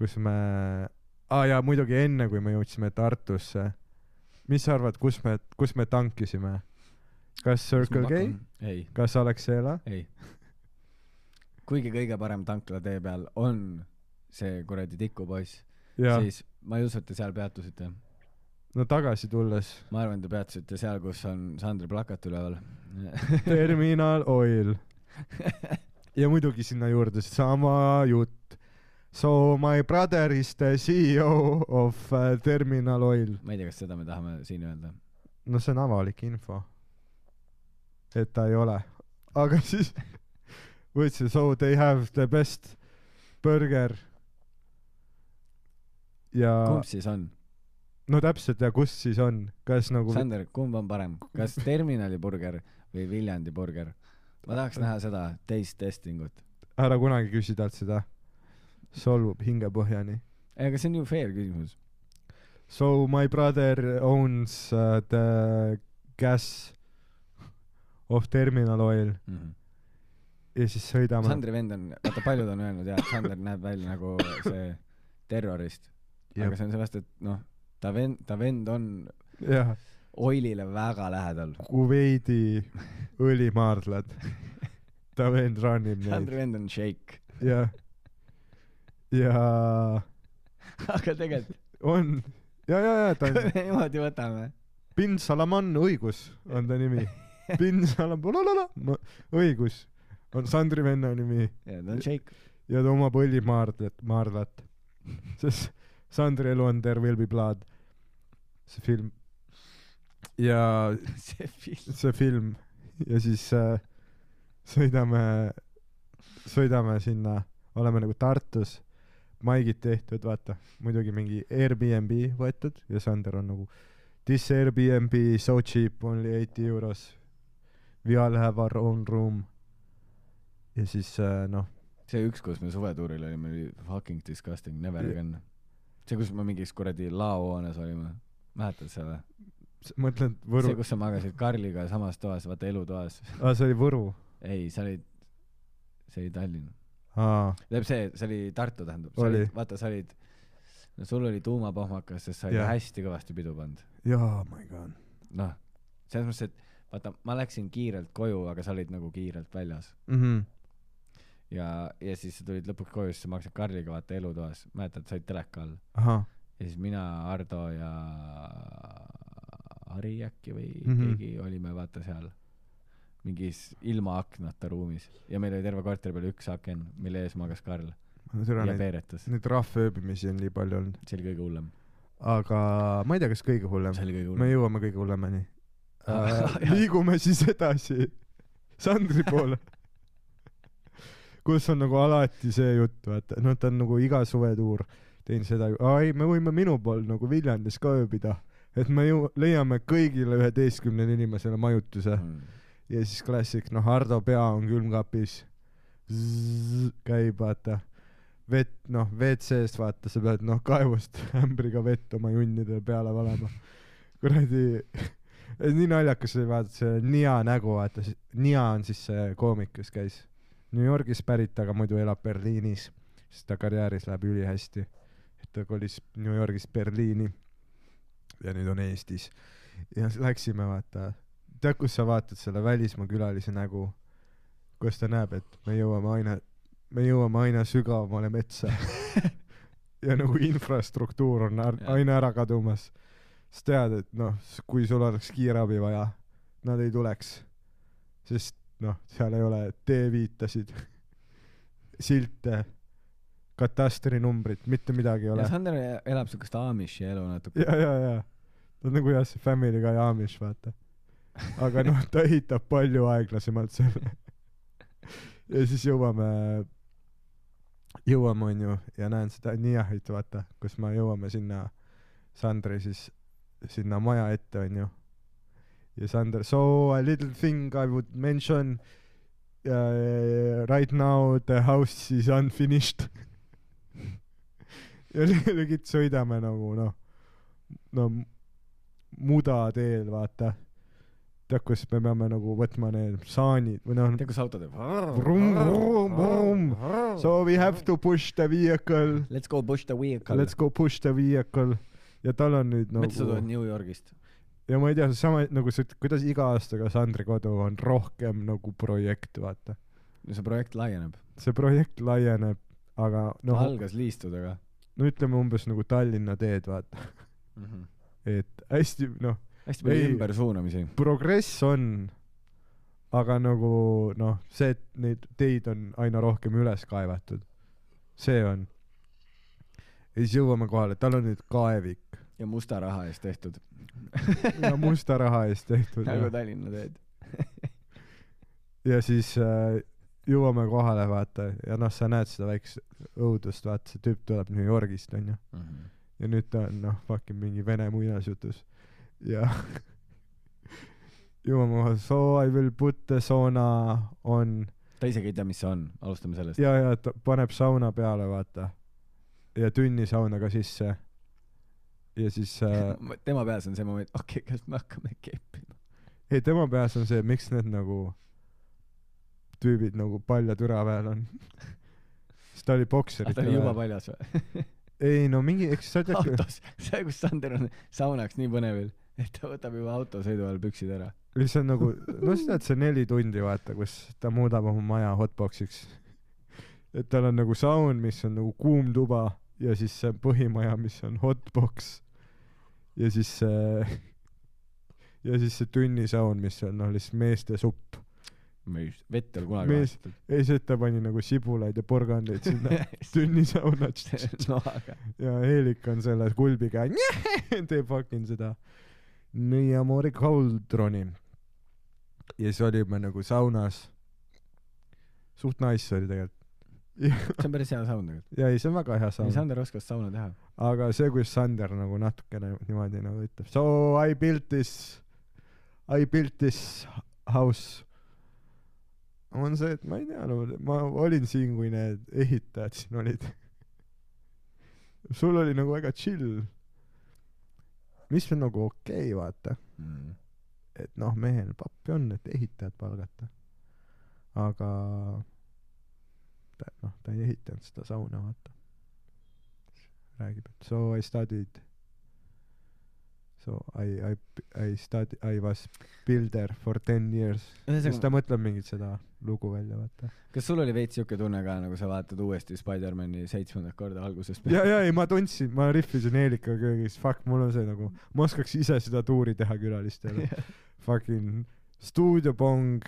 Speaker 1: kus me aa ah, jaa muidugi enne kui me jõudsime Tartusse mis sa arvad kus me kus me tankisime kas Circle K ?
Speaker 2: mm, ei ,
Speaker 1: kas Alexela
Speaker 2: ei . kuigi kõige parem tankla tee peal on see kuradi tikupoiss ,
Speaker 1: ja
Speaker 2: siis ma ei usu , et te seal peatusite .
Speaker 1: no tagasi tulles
Speaker 2: ma arvan , te peatusite seal , kus on Sandri plakat üleval
Speaker 1: Terminal Oil ja muidugi sinna juurde sama jutt So my brother is the CEO of uh, Terminal Oil
Speaker 2: ma ei tea , kas seda me tahame siin öelda .
Speaker 1: no see on avalik info et ta ei ole aga siis võtsin So they have the best burger ja
Speaker 2: kumb siis on ?
Speaker 1: no täpselt ja kus siis on kas nagu
Speaker 2: Sander , kumb on parem , kas Terminali burger või Viljandi burger ? ma tahaks näha seda taste testing ut .
Speaker 1: ära kunagi küsi talt seda solvub hingepõhjani
Speaker 2: ei , aga see on ju fair küsimus .
Speaker 1: So my brother owns uh, the gas of terminal oil
Speaker 2: Mm -hmm.
Speaker 1: ja siis sõidame
Speaker 2: Sandri vend on , vaata paljud on öelnud jaa , et Sander näeb välja nagu see terrorist .
Speaker 1: Jep.
Speaker 2: aga see on sellepärast , et noh , ta vend , ta vend on
Speaker 1: jah
Speaker 2: oilile väga lähedal .
Speaker 1: Kuveidi õlimaardlad ta vend ranib neid
Speaker 2: Sandri vend on šeik .
Speaker 1: ja ja
Speaker 2: aga tegelikult ,
Speaker 1: on ja ja ja ta
Speaker 2: kui
Speaker 1: on
Speaker 2: me niimoodi võtame ,
Speaker 1: Bin Salaman õigus on ta nimi Bin Salaman õigus on Sandri venna nimi
Speaker 2: ta on šeik .
Speaker 1: ja ta omab õllimaardlat , maardlat . sest Sandri elu on There will be blood , see film . ja
Speaker 2: see film .
Speaker 1: see film ja siis äh, sõidame , sõidame sinna , oleme nagu Tartus , maigid tehtud , vaata , muidugi mingi Airbnb võetud ja Sander on nagu this Airbnb so cheap only eighty euros . We all have our own room . ja siis äh, noh ,
Speaker 2: see üks , kus me suvetuuril olime , oli fucking disgusting , never again . see , kus me mingis kuradi laohoones olime , mäletad seda ?
Speaker 1: s- mõtled
Speaker 2: see ,
Speaker 1: Võru ,
Speaker 2: kus sa magasid Karliga samas toas , vaata elutoas .
Speaker 1: aa Ah, see oli Võru
Speaker 2: ei , sa olid , see oli Tallinn .
Speaker 1: aa
Speaker 2: tähendab see , see oli Tartu , tähendab .
Speaker 1: Oli.
Speaker 2: vaata , sa olid , no sul oli tuumapohmakas , sest sa olid
Speaker 1: Jah.
Speaker 2: yeah. hästi kõvasti pidu pannud .
Speaker 1: jaa oh my god
Speaker 2: noh , selles mõttes , et vaata , ma läksin kiirelt koju , aga sa olid nagu kiirelt väljas .
Speaker 1: mhmh
Speaker 2: ja , ja siis sa tulid lõpuks koju , siis sa magasid Karliga , vaata elutoas . mäletad , sa olid teleka all .
Speaker 1: ahah
Speaker 2: ja siis mina , Ardo ja Ari äkki või mm
Speaker 1: Mhm.
Speaker 2: -hmm. keegi olime vaata seal mingis ilma aknata ruumis ja meil oli terve korteri peal üks aken , mille ees magas Karl
Speaker 1: ma ei tea
Speaker 2: ja
Speaker 1: neid
Speaker 2: peeretas .
Speaker 1: neid rahvaööbimisi on nii palju olnud
Speaker 2: see oli kõige hullem .
Speaker 1: aga ma ei tea kas kõige hullem
Speaker 2: see oli kõige
Speaker 1: me
Speaker 2: hullem .
Speaker 1: jõuame kõige hullemani
Speaker 2: Ah,
Speaker 1: Äh,
Speaker 2: jah.
Speaker 1: liigume siis edasi Sandri poole kus on nagu alati see jutt vaata noh ta on nagu iga suvetuur teinud seda ju- aa ei me võime minu pool nagu Viljandis ka ööbida et me ju leiame kõigile üheteistkümnele inimesele majutuse
Speaker 2: äh, Mm.
Speaker 1: ja siis klassik , noh , Hardo pea on külmkapis , käib , vaata , vett , noh , WC-st vaata , sa pead , noh , kaevust ämbriga vett oma junnidele peale valama . kuradi , nii naljakas oli vaadata see Nia nägu , vaata , Nia on siis see koomik , kes käis New Yorgis pärit , aga muidu elab Berliinis sest ta karjääris läheb ülihästi . et ta kolis New Yorgist Berliini ja nüüd on Eestis . ja s- läksime vaata , tead , kus sa vaatad selle välismaa külalise nägu , kus ta näeb , et me jõuame aina , me jõuame aina sügavamale metsa . ja nagu infrastruktuur on ar-
Speaker 2: Jah.
Speaker 1: aina ära kadumas . sa tead , et noh , kui sul oleks kiirabi vaja , nad ei tuleks . sest noh , seal ei ole teeviitasid , silte , katastrinumbrit , mitte midagi ei
Speaker 2: ja
Speaker 1: ole .
Speaker 2: Sander e-, elab siukest Amishi elu natuke .
Speaker 1: ja , ja , ja . ta on nagu jah , see Family Guy Amish , vaata . aga noh , ta ehitab palju aeglasemalt selle . ja siis jõuame , jõuame , onju , ja näen seda Niahit , vaata , kus me jõuame sinna , Sandri siis , sinna maja ette , onju . ja Sander , so a little thing I would mention uh, . Right now the house is unfinished . ja legit sõidame nagu noh , no m- muda teel , vaata . tead , kus me peame nagu võtma need saanid või noh ,
Speaker 2: tead , kus auto teeb ?
Speaker 1: Vrum, vrum, vrum. so we have to push the vehicle ,
Speaker 2: Let's go push the vehicle .
Speaker 1: let's go push the vehicle ja tal on nüüd
Speaker 2: mitte sa tuled
Speaker 1: nagu
Speaker 2: New Yorgist .
Speaker 1: ja ma ei tea , sama nagu see , kuidas iga aastaga Sandri kodu on rohkem nagu projekt , vaata .
Speaker 2: see projekt laieneb
Speaker 1: see projekt laieneb , aga
Speaker 2: no. .
Speaker 1: noh ,
Speaker 2: algas liistudega
Speaker 1: no ütleme umbes nagu Tallinna teed , vaata ,
Speaker 2: mm . -hmm.
Speaker 1: et hästi noh ,
Speaker 2: hästi palju
Speaker 1: Ei.
Speaker 2: ümbersuunamisi .
Speaker 1: progress on , aga nagu noh , see , et neid teid on aina rohkem üles kaevatud , see on . ja siis jõuame kohale , tal on nüüd kaevik
Speaker 2: ja musta raha eest tehtud .
Speaker 1: ja musta raha eest tehtud
Speaker 2: nagu
Speaker 1: ja,
Speaker 2: Tallinna teed .
Speaker 1: ja siis äh, jõuame kohale , vaata , ja noh , sa näed seda väikest õudust , vaata , see tüüp tuleb New Yorgist , onju .
Speaker 2: Mhm.
Speaker 1: ja nüüd ta on noh fucking mingi vene muinasjutus ja jõuame kohe so I will put the sauna on
Speaker 2: ta isegi ei tea , mis see on , alustame sellest .
Speaker 1: ja ja ta paneb sauna peale vaata ja tünni sauna ka sisse ja siis äh,
Speaker 2: tema peas on see moment , okei okay, , kas me hakkame keppima .
Speaker 1: ei tema peas on see miks need nagu tüübid nagu palja türa peal on sest ta oli bokserite
Speaker 2: ta oli juba
Speaker 1: peal
Speaker 2: paljas või ?
Speaker 1: ei no mingi eks sa tead kui-
Speaker 2: autos , see , kus Sander on saunaks nii põnevil , et ta võtab juba autosõidu ajal püksid ära .
Speaker 1: lihtsalt nagu , no sa tead , see neli tundi vaata , kus ta muudab oma maja hotboxiks . et tal on nagu saun , mis on nagu kuum tuba ja siis see põhimaja , mis on hotbox . ja siis see , ja siis see tünnisaun , mis on noh , lihtsalt meeste supp .
Speaker 2: mees , vett ei ole kunagi
Speaker 1: Mees- ei , see , et ta pani nagu sibulaid ja porgandeid sinna tünnisauna .
Speaker 2: vahetunud . no aga ,
Speaker 1: ja Eerik on selle kulbiga teeb fucking seda nii amori kaldroni ja siis olime nagu saunas suht nice oli tegelikult
Speaker 2: see on päris hea saun tegelikult .
Speaker 1: ja ei see on väga hea saun
Speaker 2: Sander oskas sauna teha .
Speaker 1: aga see kuidas Sander nagu natukene niimoodi nagu ütleb so I built this I built this house on see et ma ei tea no ma olin siin kui need ehitajad siin olid sul oli nagu väga chill mis on nagu okei okay, vaata
Speaker 2: Mm.
Speaker 1: et noh mehel pappi on et ehitajad palgata aga ta noh ta ei ehitanud seda sauna vaata räägib et so I studied so I I I study I was builder for ten years siis ta
Speaker 2: ühesõnaga ,
Speaker 1: mõtleb mingit seda lugu välja vaata
Speaker 2: kas sul oli veits siuke tunne ka , nagu sa vaatad uuesti Spider-man'i seitsmendat korda algusest
Speaker 1: ja ja ei ma tundsin ma rihvisin Eelika köögis fuck mul on see nagu ma oskaks ise seda tuuri teha
Speaker 2: Mhm.
Speaker 1: külalistele fucking stuudiopong ,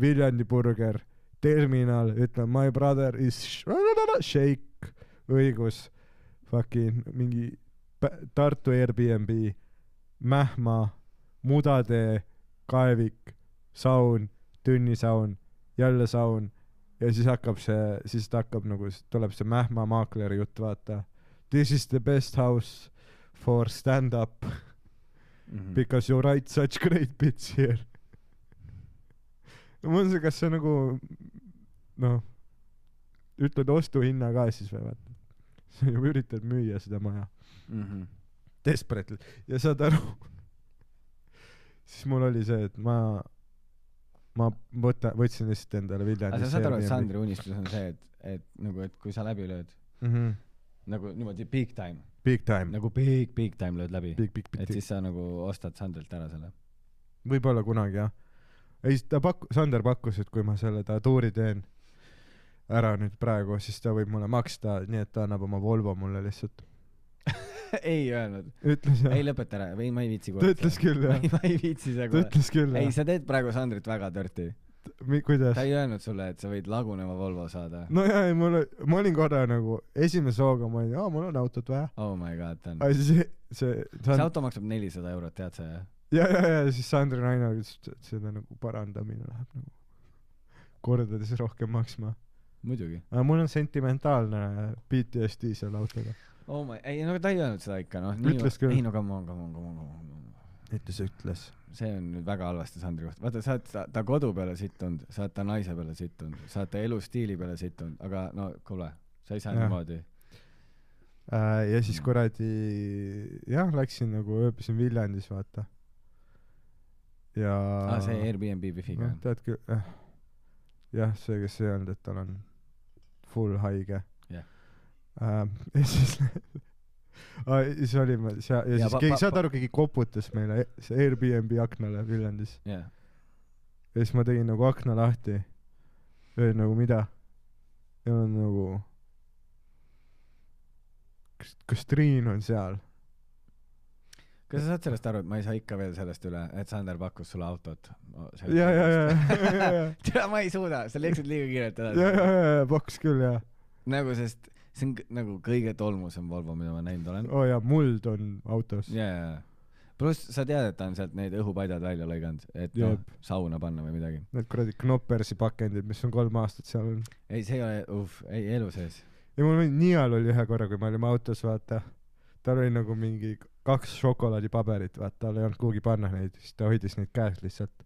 Speaker 1: Viljandi burger , terminal , ütleme my brother is sh- shake , õigus , fucking mingi Pä- Tartu Airbnb , Mähma , Mudatee , kaevik , saun , tünnisaun , jälle saun ja siis hakkab see , siis ta hakkab nagu , tuleb see Mähma maakleri jutt , vaata . This is the best house for stand-up
Speaker 2: ja
Speaker 1: because you write such great bits here . ma mõtlesin , kas see nagu noh , ütled ostuhinna ka siis või vaata , sa ju üritad müüa seda maja
Speaker 2: mm .
Speaker 1: desperately ja saad aru , siis mul oli see , et ma , ma võta- , võtsin lihtsalt endale
Speaker 2: aga
Speaker 1: Viljandis
Speaker 2: sa saad aru , et Sandri unistus on see , et , et nagu , et kui sa läbi lööd ,
Speaker 1: mm . -hmm.
Speaker 2: nagu niimoodi big time ,
Speaker 1: Big time nagu, ,
Speaker 2: nagu big , big time lööd läbi ,
Speaker 1: big , big , big
Speaker 2: et
Speaker 1: time ,
Speaker 2: siis sa nagu ostad Sandrilt ära selle .
Speaker 1: võib-olla kunagi jah . ei , ta pak- , Sander pakkus , et kui ma selle tatuuri teen ära nüüd praegu , siis ta võib mulle maksta , nii et ta annab oma Volvo mulle lihtsalt .
Speaker 2: ei öelnud ,
Speaker 1: ütles jah
Speaker 2: ei ? lõpeta ära , ei ma ei viitsi
Speaker 1: ta ütles küll
Speaker 2: ma
Speaker 1: jah ,
Speaker 2: ei , ma ei viitsi seda
Speaker 1: ta
Speaker 2: kohe .
Speaker 1: ütles küll
Speaker 2: ei ,
Speaker 1: jah .
Speaker 2: sa teed praegu Sandrit väga torti .
Speaker 1: kuidas
Speaker 2: ta ? ei öelnud sulle , et sa võid laguneva Volvo saada .
Speaker 1: no jaa , ei mul , ma olin korra nagu esimese hooga ma olin , aa mul on autot vaja .
Speaker 2: oh my god , ta on ,
Speaker 1: aga siis see , see
Speaker 2: see
Speaker 1: on ,
Speaker 2: auto maksab nelisada eurot , tead sa jah ?
Speaker 1: ja , ja , ja siis Sandri naine ütles , et selle nagu parandamine läheb nagu kordades rohkem maksma .
Speaker 2: muidugi .
Speaker 1: aga mul on sentimentaalne PTSD selle autoga .
Speaker 2: oh my , ei no ta ei öelnud seda ikka noh ,
Speaker 1: Ütles küll.
Speaker 2: ei no come on , come on , come on , come on .
Speaker 1: ütles , ütles .
Speaker 2: see on nüüd väga halvasti Sandri kohta , vaata sa oled ta, ta kodu peale sittunud , sa oled ta naise peale sittunud , sa oled ta elustiili peale sittunud , aga no kuule , sa ei saa
Speaker 1: Jah.
Speaker 2: niimoodi .
Speaker 1: Äh, ja
Speaker 2: Mm.
Speaker 1: siis kuradi , jah , läksin nagu ööbisin Viljandis , vaata . ja
Speaker 2: aa , Ah, see Airbnb wifi'ga
Speaker 1: noh
Speaker 2: on ,
Speaker 1: tead küll , jah . jah , see , kes ei öelnud , et tal on full haige .
Speaker 2: Jah.
Speaker 1: ja siis Aa, ja siis olime seal ja,
Speaker 2: Ja
Speaker 1: ja siis
Speaker 2: pa-
Speaker 1: keegi
Speaker 2: pa- ,
Speaker 1: saad
Speaker 2: pa-
Speaker 1: aru , keegi koputas meile see Airbnb aknale Viljandis
Speaker 2: jah .
Speaker 1: ja siis ma tegin nagu akna lahti ja olin nagu mida ja olen nagu kas kas Triin on seal
Speaker 2: kas sa saad sellest aru , et ma ei saa ikka veel sellest üle , et Sander pakkus sulle autot no, ?
Speaker 1: ja ja ja ja ja ja ja
Speaker 2: tea , ma ei suuda , sa läksid liiga kiirelt
Speaker 1: ja ja
Speaker 2: edasi .
Speaker 1: ja paks küll jaa
Speaker 2: nagu , sest see on k- nagu kõige tolmusem Volvo , mida ma näinud olen .
Speaker 1: oo oh, jaa muld on autos
Speaker 2: ja , ja , ja . pluss sa tead , et ta on sealt need õhupadjad välja lõiganud , et noh
Speaker 1: Jep. ,
Speaker 2: sauna panna või midagi .
Speaker 1: need kuradi Knoppersi pakendid mis on kolm aastat seal olnud
Speaker 2: ei , see ei ole , uh , ei elu sees .
Speaker 1: ja mul oli Nial oli ühe korra , kui me olime autos , vaata , tal oli nagu mingi kaks šokolaadipaberit , vaata , tal ei olnud kuhugi panna neid , siis ta hoidis neid käes lihtsalt .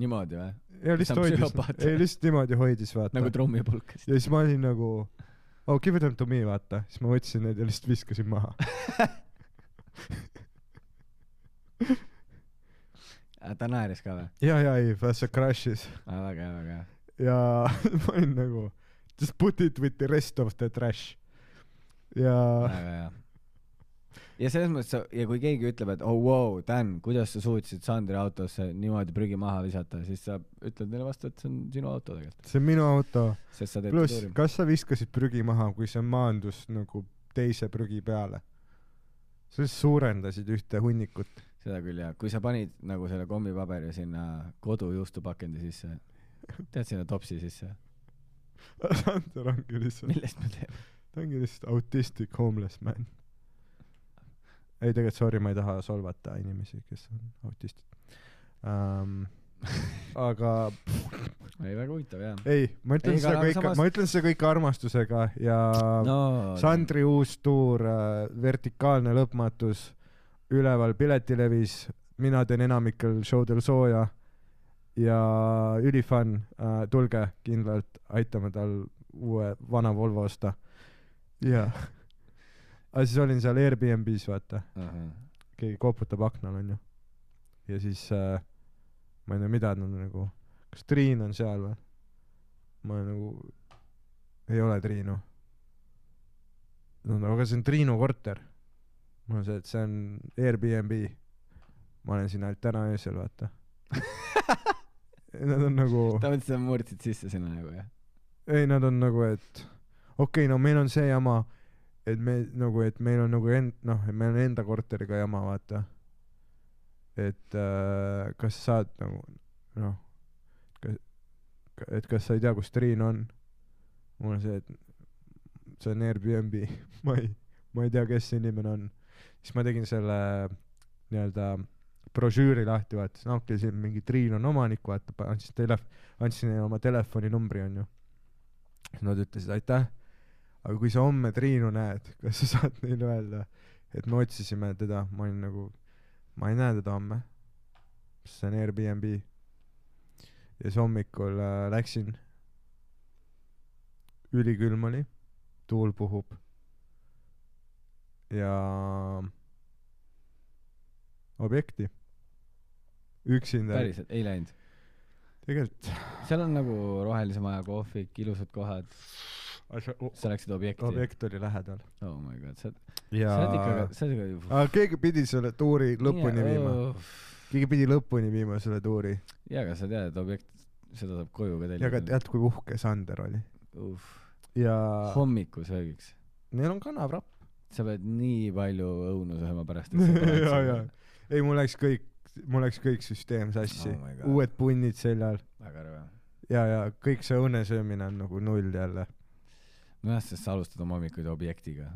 Speaker 2: niimoodi või ?
Speaker 1: ja lihtsalt
Speaker 2: Ta on
Speaker 1: hoidis
Speaker 2: psühhopaat. ,
Speaker 1: ei lihtsalt niimoodi hoidis , vaata
Speaker 2: nagu
Speaker 1: nagu .
Speaker 2: trummipulkast .
Speaker 1: ja siis ma olin nagu , oh give them to me , vaata , siis ma võtsin neid ja lihtsalt viskasin maha .
Speaker 2: ta naeris ka või ?
Speaker 1: ja , ja ei , see crash'is
Speaker 2: väga hea , väga hea .
Speaker 1: ja ma olin nagu just put it with the rest of the trash . ja
Speaker 2: väga hea . ja selles mõttes sa , ja kui keegi ütleb , et oh wow , Dan , kuidas sa suutsid Sandri autosse niimoodi prügi maha visata , siis sa ütled neile vastu , et see on sinu auto tegelikult ,
Speaker 1: see on minu auto ,
Speaker 2: sest sa teed
Speaker 1: pluss
Speaker 2: tuuri .
Speaker 1: kas sa viskasid prügi maha , kui see maandus nagu teise prügi peale ? sa lihtsalt suurendasid ühte hunnikut .
Speaker 2: seda küll jah , kui sa panid nagu selle kommipaberi sinna kodujuustupakendi sisse , tead sinna topsi sisse ,
Speaker 1: Sander ongi lihtsalt ,
Speaker 2: millest me teeme ?
Speaker 1: ta ongi lihtsalt autistic homeless man . ei tegelikult sorry , ma ei taha solvata inimesi , kes on autistid um, . aga
Speaker 2: ei , väga huvitav jah .
Speaker 1: ei , ma ütlen
Speaker 2: Ei,
Speaker 1: ei, seda
Speaker 2: aga
Speaker 1: kõik samas...
Speaker 2: samas- ,
Speaker 1: ma ütlen seda kõik armastusega ja no,
Speaker 2: no
Speaker 1: Sandri uus tuur äh, , vertikaalne lõpmatus , üleval piletilevis , mina teen enamikel showdel sooja ja ülifann äh, , tulge kindlalt , aitame tal uue vana Volvo osta . jaa . aga siis olin seal Airbnb-s , vaata ,
Speaker 2: uh . -huh.
Speaker 1: keegi koputab aknal , onju . ja siis äh, ma ei tea , mida nad nagu , kas Triin on seal või ? ma nagu , ei ole Triinu . no no aga see on Triinu korter . mul on see , et see on Airbnb . ma olen siin ainult täna öösel , vaata . Nad on nagu ,
Speaker 2: ta mõtles , et sa murdsid sisse sinna nagu jah ?
Speaker 1: ei nad on nagu , et okei okay, , no meil on see jama , et me nagu , et meil on nagu end- , noh , et meil on enda korteriga jama , vaata . et äh, kas saad nagu noh , et kas sa ei tea , kus Triin on ? mul on see , et see on Airbnb , ma ei , ma ei tea , kes see inimene on . siis ma tegin selle nii-öelda brošüüri lahti , vaatasin , okei , siin mingi Triin on omanik , vaata , andsin telef- , andsin neile oma telefoninumbri , onju . siis nad ütlesid aitäh , aga kui sa homme Triinu näed , kas sa saad neile öelda , et me otsisime teda , ma olin nagu , ma ei näe teda homme , sest see on Airbnb . ja siis hommikul äh, läksin , ülikülm oli , tuul puhub ja objekti üksinda ,
Speaker 2: päriselt , ei läinud ?
Speaker 1: tegelikult
Speaker 2: seal on nagu rohelise maja kohvik , ilusad kohad . sa läksid objekti ?
Speaker 1: objekt oli lähedal .
Speaker 2: oh my god , sa , sa
Speaker 1: ja
Speaker 2: oled ikka , sa oled ikka .
Speaker 1: aga keegi pidi selle tuuri lõpuni viima ,. keegi pidi lõpuni viima selle tuuri
Speaker 2: jaa , aga sa tead , et objekt , seda saab koju ka
Speaker 1: ja ka
Speaker 2: tellida .
Speaker 1: tead , kui uhke Sander oli . ja
Speaker 2: hommikusöögiks .
Speaker 1: neil on kanaprapp .
Speaker 2: sa pead nii palju õunu sööma pärast , et sa paned
Speaker 1: ja , ja . ei , mul läks kõik , mul läks kõik süsteem sassi
Speaker 2: Oh my God.
Speaker 1: oh . uued punnid seljal
Speaker 2: väga rõve .
Speaker 1: ja , ja kõik see õunesöömine on nagu null jälle .
Speaker 2: nojah , sest sa alustad oma hommikuid objektiga .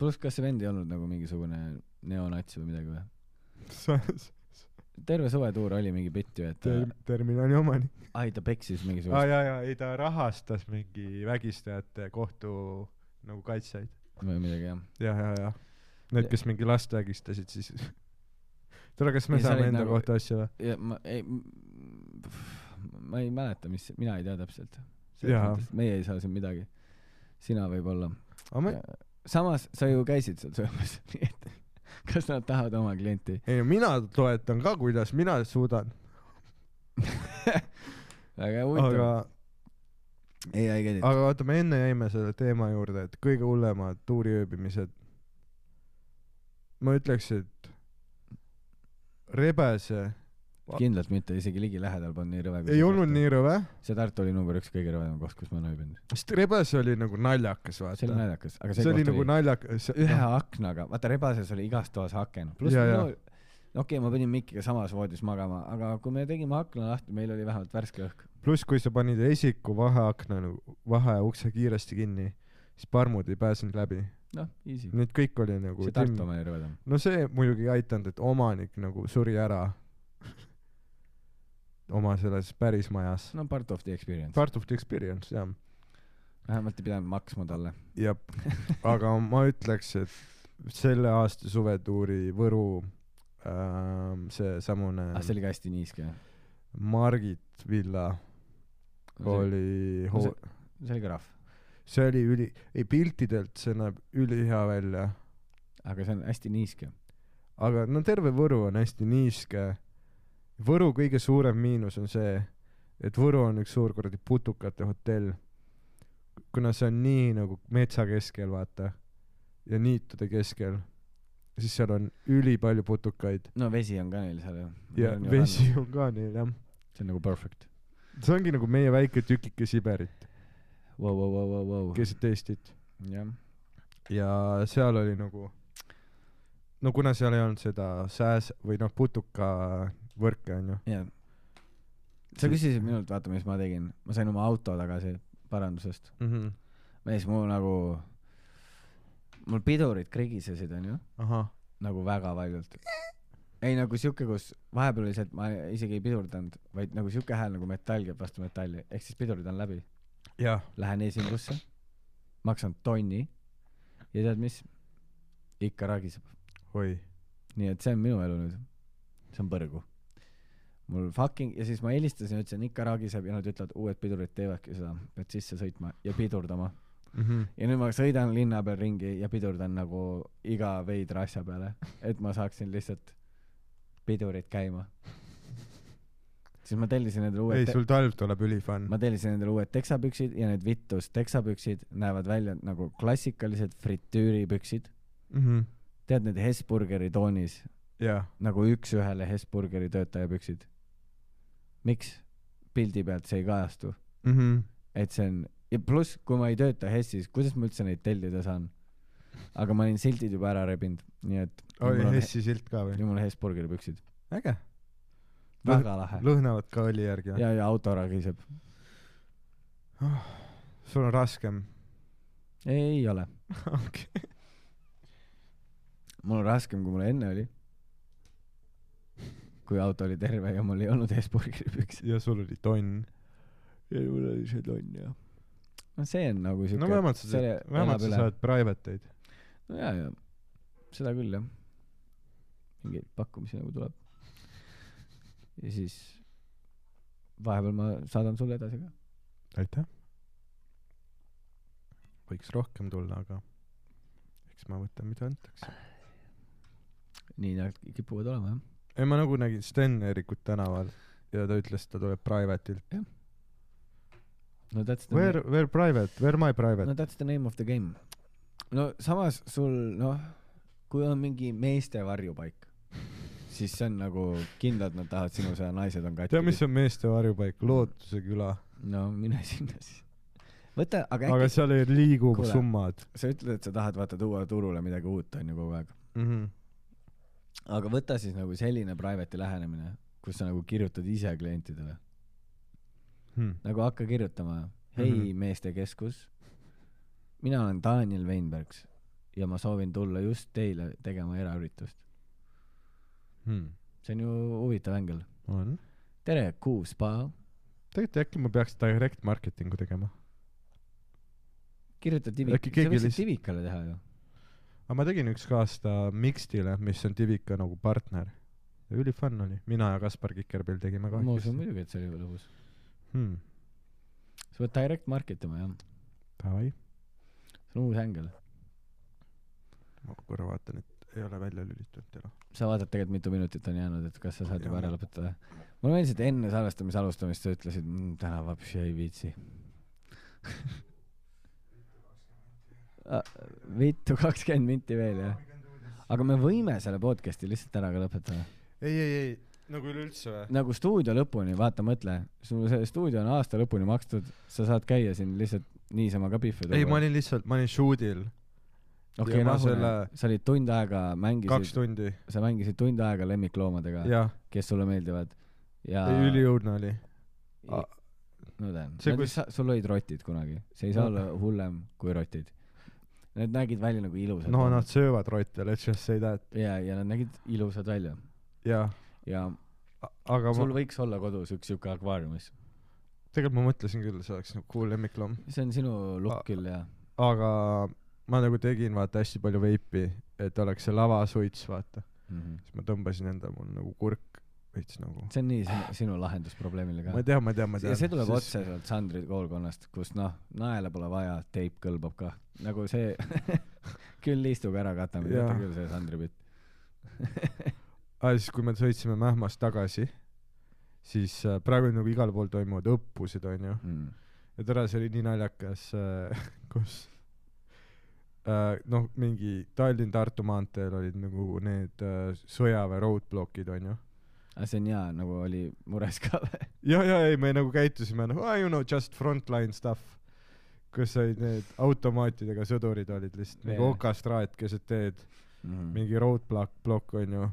Speaker 2: pluss , kas see vend ei olnud nagu mingisugune neonats või midagi või ? terve suvetuur oli mingi bitt ju , et äh,
Speaker 1: terminali omanik .
Speaker 2: ai , ta peksis
Speaker 1: aa ,
Speaker 2: mingisugust
Speaker 1: ja , ja ei , ta rahastas mingi vägistajate kohtu nagu kaitsjaid .
Speaker 2: või midagi jah .
Speaker 1: ja , ja , ja need , kes mingi last vägistasid , siis . tule , kas me
Speaker 2: Ja sa
Speaker 1: saame
Speaker 2: olid
Speaker 1: enda
Speaker 2: nagu-
Speaker 1: kohta asju või ?
Speaker 2: ja ma ei , ma ei mäleta , mis , mina ei tea täpselt .
Speaker 1: Jaa.
Speaker 2: meie ei saa siin midagi . sina võib-olla .
Speaker 1: aga ma ,
Speaker 2: samas sa ju käisid seal söömas , nii et kas nad tahavad oma klienti ?
Speaker 1: ei mina toetan ka , kuidas mina suudan ,
Speaker 2: väga huvitav
Speaker 1: aga
Speaker 2: aga... ., ei , ei käinud .
Speaker 1: aga vaata , me enne jäime selle teema juurde , et kõige hullemad tuuriööbimised . ma ütleks , et Rebese
Speaker 2: kindlalt mitte , isegi ligilähedal polnud nii rõve .
Speaker 1: ei olnud . nii rõve ,
Speaker 2: see Tartu oli number üks kõige rõvedam koht , kus ma olen ööbinud .
Speaker 1: sest Rebese oli nagu naljakas ,
Speaker 2: see oli
Speaker 1: vaata .
Speaker 2: naljakas , aga see,
Speaker 1: see oli
Speaker 2: koht
Speaker 1: nagu naljakas .
Speaker 2: ühe aknaga , vaata Rebases oli igas toas aken , pluss
Speaker 1: Ja,
Speaker 2: minu
Speaker 1: ja.
Speaker 2: okei okay, , ma pidin Mikiga samas voodis magama , aga kui me tegime akna lahti , meil oli vähemalt värske õhk .
Speaker 1: pluss , kui sa panid esiku vaheakna nagu , vaheukse kiiresti kinni , siis parmud ei pääsenud läbi .
Speaker 2: noh , easy .
Speaker 1: nüüd kõik oli nagu
Speaker 2: see Tartu . oma oli rõvedam .
Speaker 1: no see muidugi ei aidanud , et omanik nagu suri ära oma selles päris majas .
Speaker 2: no part of the experience .
Speaker 1: Part of the experience , jah .
Speaker 2: vähemalt ei pidanud maksma talle .
Speaker 1: jah , aga ma ütleks , et selle aasta suvetuuri Võru ähm, seesamune
Speaker 2: ah , see oli ka hästi niiske .
Speaker 1: Margit villa
Speaker 2: see
Speaker 1: oli
Speaker 2: no
Speaker 1: hoo-
Speaker 2: see- , see oli krahv .
Speaker 1: see oli üli , ei piltidelt see näeb ülihea välja ,
Speaker 2: aga see on hästi niiske .
Speaker 1: aga no terve Võru on hästi niiske . Võru kõige suurem miinus on see , et Võru on üks suur kuradi putukate hotell . kuna see on nii nagu metsa keskel , vaata , ja niitude keskel , siis seal on ülipalju putukaid
Speaker 2: no vesi on ka neil seal ju .
Speaker 1: ja vesi . on ka neil jah .
Speaker 2: see on nagu perfect .
Speaker 1: see ongi nagu meie väike tükike Siberit
Speaker 2: Vau , vau , vau , vau , vau .
Speaker 1: keset Eestit
Speaker 2: jah ,
Speaker 1: ja seal oli nagu , no kuna seal ei olnud seda sääs- või noh , putukavõrke onju .
Speaker 2: jah . sa küsisid minult , vaata , mis ma tegin . ma sain oma auto tagasi parandusest .
Speaker 1: Mhm.
Speaker 2: mees , mul nagu , mul pidurid krigisesid , onju ,
Speaker 1: ahah ,
Speaker 2: nagu väga valjult . ei , nagu siuke , kus vahepeal oli see , et ma isegi ei pidurdanud , vaid nagu siuke hääl nagu metall käib vastu metalli , ehk siis pidurid on läbi .
Speaker 1: jah ,
Speaker 2: Lähen esindusse , maksan tonni ja tead mis ? ikka ragiseb .
Speaker 1: oi ,
Speaker 2: nii et see on minu elu nüüd . see on põrgu . mul fucking ja siis ma helistasin , ütlesin ikka ragiseb ja nad ütlevad , uued pidurid teevadki seda , pead sisse sõitma ja pidurdama .
Speaker 1: Mhm.
Speaker 2: ja nüüd ma sõidan linna peal ringi ja pidurdan nagu iga veidra asja peale , et ma saaksin lihtsalt pidurid käima . siis ma tellisin endale
Speaker 1: ei
Speaker 2: uued ,
Speaker 1: sul talv tuleb ülifann .
Speaker 2: ma tellisin endale uued teksapüksid ja need Vitus teksapüksid näevad välja nagu klassikalised fritüüripüksid .
Speaker 1: Mhm.
Speaker 2: tead need Hesburgeri toonis
Speaker 1: jah ,
Speaker 2: nagu üks-ühele Hesburgeri töötaja püksid . miks pildi pealt see ei kajastu ,
Speaker 1: Mhm.
Speaker 2: et see on ja pluss , kui ma ei tööta Hessis , kuidas ma üldse neid tellida saan ? aga ma olin sildid juba ära rebinud , nii et
Speaker 1: oli
Speaker 2: mul on-
Speaker 1: Hessi silt ka või ?
Speaker 2: nüüd mul on Hesburgeri püksid .
Speaker 1: äge ,
Speaker 2: väga lahe .
Speaker 1: lõhnavad ka õli järgi või ?
Speaker 2: ja , ja auto ragiseb .
Speaker 1: sul on raskem .
Speaker 2: ei ole . mul on raskem , kui mul enne oli . kui auto oli terve ja mul ei olnud Hesburgeri püksid .
Speaker 1: ja sul oli tonn .
Speaker 2: ja mul oli see tonn jah . no see on nagu siuke .
Speaker 1: no vähemalt sa saad , vähemalt sa saad private eid .
Speaker 2: no jaa , jaa , seda küll jah . mingeid pakkumisi nagu tuleb . ja siis vahepeal ma saadan sulle edasi ka .
Speaker 1: aitäh . võiks rohkem tulla , aga eks ma võtan , mida antakse .
Speaker 2: nii nad kipuvad olema jah .
Speaker 1: ei , ma nagu nägin Sten Erikut tänaval ja ta ütles , et ta tuleb private'ilt .
Speaker 2: no that's the
Speaker 1: Where , where private , where my private
Speaker 2: no ? that's the name of the game . no samas sul noh , kui on mingi meeste varjupaik , siis see on nagu kindlalt nad tahavad sinu seda , naised on katki .
Speaker 1: tea , mis on meeste varjupaik , Lootuse küla ,
Speaker 2: no mine sinna siis . võta , aga äkki
Speaker 1: aga seal ei liigu
Speaker 2: Kuule.
Speaker 1: summad
Speaker 2: sa ütled , et sa tahad vaata tuua turule midagi uut onju kogu aeg ,
Speaker 1: mm . -hmm.
Speaker 2: aga võta siis nagu selline private'i lähenemine , kus sa nagu kirjutad ise klientidele ,
Speaker 1: Hmm.
Speaker 2: nagu hakka kirjutama , hei mm -hmm.
Speaker 1: Mhm.
Speaker 2: meestekeskus , mina olen Daniel Veinbergs ja ma soovin tulla just teile tegema eraüritust .
Speaker 1: Hmm.
Speaker 2: see on ju huvitav ängel .
Speaker 1: on ,
Speaker 2: tere , Kuu spa ,
Speaker 1: tegelikult äkki ma peaks direct marketingu tegema ,
Speaker 2: kirjuta
Speaker 1: Äkki
Speaker 2: Tivik- , sa
Speaker 1: keegi
Speaker 2: võiksid
Speaker 1: lihtsalt-
Speaker 2: Tivikale teha ju .
Speaker 1: aga ma tegin üks aasta Mixedile , mis on Tivika nagu partner , üli fun oli , mina ja Kaspar Kikerpill tegime
Speaker 2: ma usun
Speaker 1: kahekesi .
Speaker 2: muidugi , et see oli lõbus .
Speaker 1: Hmm.
Speaker 2: sa pead direct market ima jah ,
Speaker 1: Davai ,
Speaker 2: see on uus ängel .
Speaker 1: ma korra vaatan , et ei ole välja lülitatud enam .
Speaker 2: sa vaatad tegelikult mitu minutit on jäänud , et kas sa saad juba
Speaker 1: Jah.
Speaker 2: ära lõpetada . mulle meeldis , et enne salvestamise alustamist sa ütlesid mmm, , täna vapši ei viitsi . Ah, vittu , kakskümmend minti veel jah ? aga me võime selle podcast'i lihtsalt ära ka lõpetada .
Speaker 1: ei , ei , ei , nagu üleüldse või ?
Speaker 2: nagu stuudio lõpuni , vaata , mõtle , sul see stuudio on aasta lõpuni makstud , sa saad käia siin lihtsalt niisama ka pihvi
Speaker 1: ei , ma . olin lihtsalt , ma olin shootil
Speaker 2: okei ,
Speaker 1: ja ma
Speaker 2: rahune
Speaker 1: selle-
Speaker 2: selle... , sa olid tund aega ,
Speaker 1: kaks
Speaker 2: mängisid ,
Speaker 1: tundi ,
Speaker 2: sa mängisid tund aega lemmikloomadega ,
Speaker 1: jah ,
Speaker 2: kes sulle meeldivad ja
Speaker 1: üliõudne oli .
Speaker 2: I- no tähendab ,
Speaker 1: see,
Speaker 2: see
Speaker 1: kus-
Speaker 2: kus sul olid rotid kunagi , see ei saa
Speaker 1: No.
Speaker 2: olla hullem kui rotid . Need nägid välja nagu ilusad .
Speaker 1: no nad . söövad rotte , let's just say that ,
Speaker 2: ja , ja nad nägid ilusad välja
Speaker 1: jah .
Speaker 2: ja
Speaker 1: aga
Speaker 2: sul
Speaker 1: ma ,
Speaker 2: võiks olla kodus üks siuke akvaariumis .
Speaker 1: tegelikult ma mõtlesin küll , see oleks nagu cool lemmikloom ,
Speaker 2: see on sinu
Speaker 1: A-
Speaker 2: look küll ja ,
Speaker 1: aga ma nagu tegin vaata hästi palju veipi , et oleks see lavasuits , vaata . siis ma tõmbasin enda , mul nagu kurk veits nagu .
Speaker 2: Mhm. see on nii sinu, sinu lahendus probleemile
Speaker 1: ma
Speaker 2: ka .
Speaker 1: tean , ma tean , ma
Speaker 2: ja
Speaker 1: tean .
Speaker 2: see tuleb siis... otseselt Sandri koolkonnast , kus noh , naela pole vaja , teip kõlbab kah . nagu see , küll istuga ära katame ,
Speaker 1: Jaa.
Speaker 2: teate küll see Sandri pilt
Speaker 1: aa , siis kui me sõitsime Mähmast tagasi , siis äh, praegu nagu igal pool toimuvad õppused , onju .
Speaker 2: mm. .
Speaker 1: ja tore , see oli nii naljakas äh, , kus äh, noh , mingi Tallinn-Tartu maanteel olid nagu need äh, sõjaväe roadblock'id , onju .
Speaker 2: aga see on hea , nagu oli mures ka või ?
Speaker 1: ja , ja ei , me nagu käitusime nagu ah, you know just frontline stuff , kus olid need automaatidega sõdurid olid lihtsalt nagu
Speaker 2: Jaa.
Speaker 1: okastraat keset teed ,
Speaker 2: mm. .
Speaker 1: mingi roadblock , plokk onju .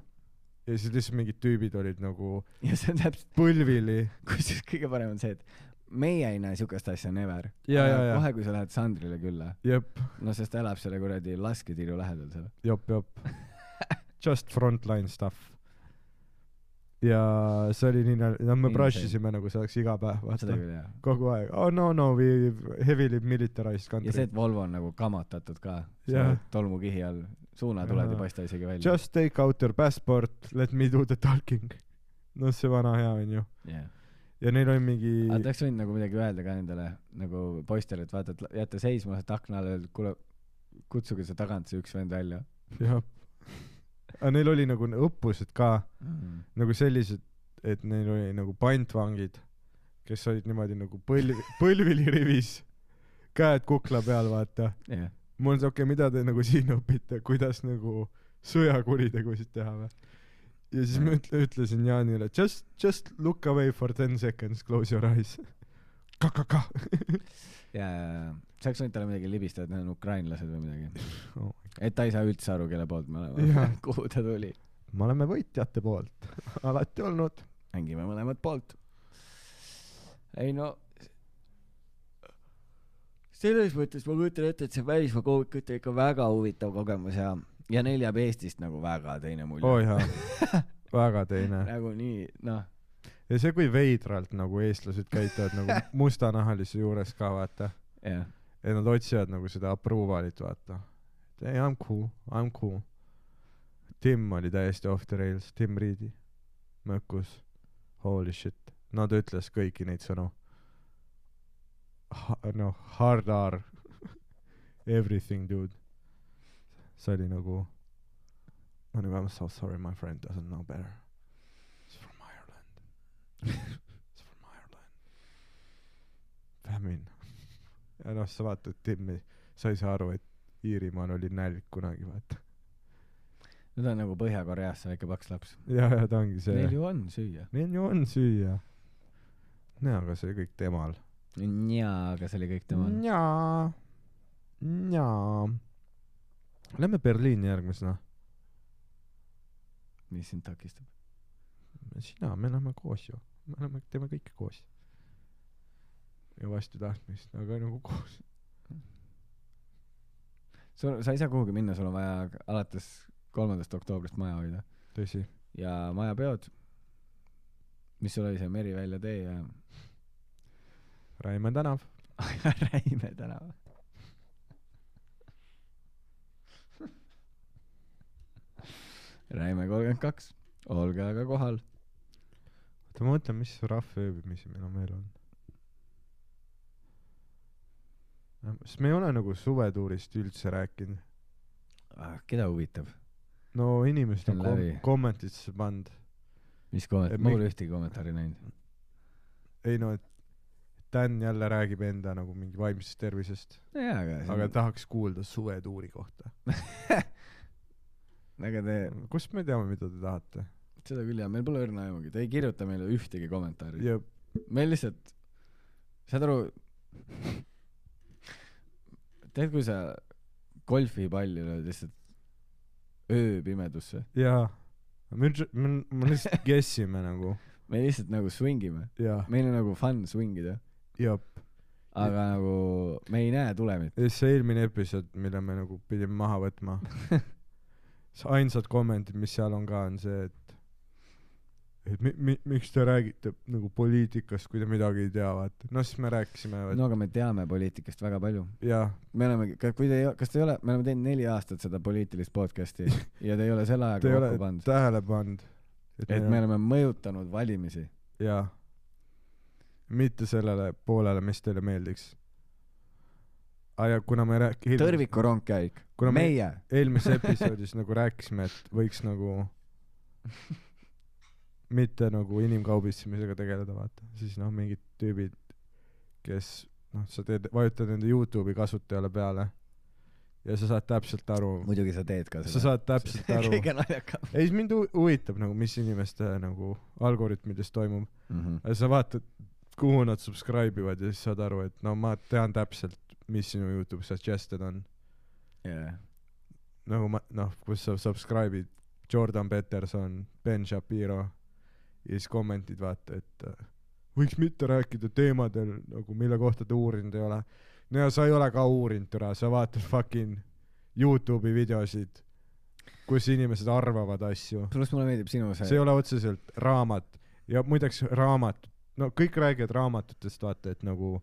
Speaker 1: ja siis lihtsalt mingid tüübid olid nagu
Speaker 2: ja see on täpselt ,
Speaker 1: põlvili
Speaker 2: kusjuures kõige parem on see , et meie ei näe siukest asja never .
Speaker 1: Jaa, jaa, jaa.
Speaker 2: kohe , kui sa lähed Sandrile külla ,
Speaker 1: jep ,
Speaker 2: no sest ta elab selle kuradi lasketiiru lähedal seal .
Speaker 1: jep , jep . Just frontline stuff . ja see oli nii nal- , no me
Speaker 2: Insane.
Speaker 1: brush isime nagu see oleks iga päev ,
Speaker 2: seda
Speaker 1: vaata .
Speaker 2: küll jah .
Speaker 1: kogu aeg , oh no no we heavily militarized
Speaker 2: ja see ,
Speaker 1: country .
Speaker 2: et Volvo on nagu kamatatud ka
Speaker 1: Jah.
Speaker 2: yeah. tolmukihi all , suunatuled
Speaker 1: Jaa.
Speaker 2: ei paista isegi välja .
Speaker 1: Just take out your passport , let me do the talking . noh , see vana hea onju .
Speaker 2: Yeah.
Speaker 1: ja neil oli
Speaker 2: aga
Speaker 1: mingi ,
Speaker 2: ta oleks võinud nagu midagi öelda ka nendele nagu poistele , et vaata , et jääte seisma sealt akna all , et kuule , kutsuge see tagant see üks vend välja
Speaker 1: jah . aga neil oli nagu õppused ka ,
Speaker 2: mm. .
Speaker 1: nagu sellised , et neil oli nagu pantvangid , kes olid niimoodi nagu põlvi , põlvili rivis , käed kukla peal , vaata .
Speaker 2: Yeah.
Speaker 1: mul on see okei okay, , mida te nagu siin õpite , kuidas nagu sõjakuritegusid teha või ? ja siis ma ütle- , ütlesin Jaanile just , just look away for ten seconds , close your eyes . kakaka .
Speaker 2: ja , ja , ja , sa oleks võinud talle midagi libistada , et need on ukrainlased või midagi .
Speaker 1: Oh
Speaker 2: et ta ei saa üldse aru , kelle poolt me oleme
Speaker 1: Jah. ,
Speaker 2: kuhu ta tuli .
Speaker 1: me oleme võitjate poolt , alati olnud .
Speaker 2: mängime mõlemat poolt . ei no , selles mõttes ma kujutan ette , et see välismaa koomikute ikka väga huvitav kogemus ja , ja neil jääb Eestist nagu väga teine mulje
Speaker 1: oo oh, . jaa , väga teine .
Speaker 2: nagu nii , noh ,
Speaker 1: ja see , kui veidralt nagu eestlased käituvad nagu mustanahalise juures ka vaata ,
Speaker 2: jah .
Speaker 1: et nad otsivad nagu seda approval'it vaata . et ei , I m cool , I m cool . Tim oli täiesti off the rails , Tim Reedi mökus . Holy shit , no ta ütles kõiki neid sõnu . noh , hard R , everything dude . see oli nagu , ma nagu I m so sorry , my friend doesn't know better . It's from Ireland . It's from Ireland . minna . ja noh , sa vaatad Timmi , sa ei saa aru , et Iirimaal oli nälg kunagi , vaata .
Speaker 2: no ta on nagu Põhja-Koreas see väike paks laps .
Speaker 1: ja , ja ta ongi see
Speaker 2: Neil . ju on süüa .
Speaker 1: neil ju on süüa . jaa , aga see kõik temal .
Speaker 2: jaa , aga see oli kõik tema .
Speaker 1: jaa , jaa . Lähme Berliini järgmisena .
Speaker 2: mis sind takistab ?
Speaker 1: sina , me oleme koos ju . me oleme , teeme kõike koos . ja vastu tahtmist , aga nagu koos .
Speaker 2: sul , sa ei saa kuhugi minna , sul on vaja k- alates kolmandast oktoobrist maja hoida .
Speaker 1: tõsi .
Speaker 2: ja majapeod , mis sul oli see Merivälja tee ja
Speaker 1: Raimond Tänav .
Speaker 2: Räime tänav . Räime kolmkümmend kaks , olge aga kohal .
Speaker 1: oota , ma mõtlen , mis rahvaööbimisi meil on veel olnud . sest me ei ole nagu suvetuurist üldse rääkinud .
Speaker 2: Ah, keda huvitab ,
Speaker 1: no inimesed on
Speaker 2: See on
Speaker 1: kom-
Speaker 2: läbi. ,
Speaker 1: kommentitesse pannud .
Speaker 2: mis kommentaar ,
Speaker 1: Et
Speaker 2: ma
Speaker 1: mi-
Speaker 2: pole ühtegi kommentaari näinud .
Speaker 1: ei no , et Dan jälle räägib enda nagu mingi vaimsest tervisest ,
Speaker 2: jaa , aga see
Speaker 1: aga
Speaker 2: on ,
Speaker 1: tahaks kuulda suvetuuri kohta .
Speaker 2: aga te ,
Speaker 1: kust me teame , mida te tahate ?
Speaker 2: seda küll jah , meil pole õrna aimugi , te ei kirjuta meile ühtegi kommentaari .
Speaker 1: ja
Speaker 2: meil lihtsalt , saad aru , tead , kui sa golfipalli lööd lihtsalt ööpimedusse ,
Speaker 1: jaa , me , me , me lihtsalt guessime nagu
Speaker 2: me lihtsalt nagu swingime ,
Speaker 1: ja ,
Speaker 2: meil on nagu fun swing ida ,
Speaker 1: ja ,
Speaker 2: aga nagu me ei näe tulemit .
Speaker 1: ja see eelmine episood , mille me nagu pidime maha võtma , see ainsad kommentid , mis seal on ka , on see , et et mi- , mi- , miks te räägite nagu poliitikast , kui te midagi ei tea , vaata . no siis me rääkisime
Speaker 2: no
Speaker 1: no. ,
Speaker 2: aga me teame poliitikast väga palju .
Speaker 1: jaa ,
Speaker 2: me olemegi , kui te ei , kas te ei ole , me oleme teinud neli aastat seda poliitilist podcast'i ja te ei ole selle
Speaker 1: te ei
Speaker 2: ajaga
Speaker 1: ole
Speaker 2: kokku pannud ,
Speaker 1: tähele pannud .
Speaker 2: et me oleme mõjutanud valimisi .
Speaker 1: jaa . mitte sellele poolele , mis teile meeldiks . aga kuna me rääk- ,
Speaker 2: tõrvikurongkäik ,
Speaker 1: kuna me
Speaker 2: meie .
Speaker 1: eelmises episoodis nagu rääkisime , et võiks nagu mitte nagu inimkaubitsemisega tegeleda , vaata , siis noh , mingid tüübid , kes noh , sa teed , vajutad nende Youtube'i kasutajale peale ja sa saad täpselt aru ,
Speaker 2: muidugi sa teed ka
Speaker 1: sa
Speaker 2: seda .
Speaker 1: saad täpselt aru .
Speaker 2: kõige naljakam .
Speaker 1: ei , mind hu- huvitab nagu , mis inimeste nagu algoritmides toimub ,
Speaker 2: Mhm.
Speaker 1: sa vaatad , kuhu nad subscribe ivad ja siis saad aru , et no ma tean täpselt , mis sinu Youtube suggested on .
Speaker 2: jah ,
Speaker 1: nagu ma noh , kus sa subscribe'id Jordan Peterson , Ben Shapiro ja siis kommentid vaata , et äh, võiks mitte rääkida teemadel nagu mille kohta ta uurinud ei ole . no ja sa ei ole ka uurinud türa , sa vaatad fucking Youtube'i videosid , kus inimesed arvavad asju .
Speaker 2: pluss mulle meeldib sinu
Speaker 1: see ei
Speaker 2: see ,
Speaker 1: ole otseselt raamat ja muideks raamat , no kõik räägivad raamatutest , vaata , et nagu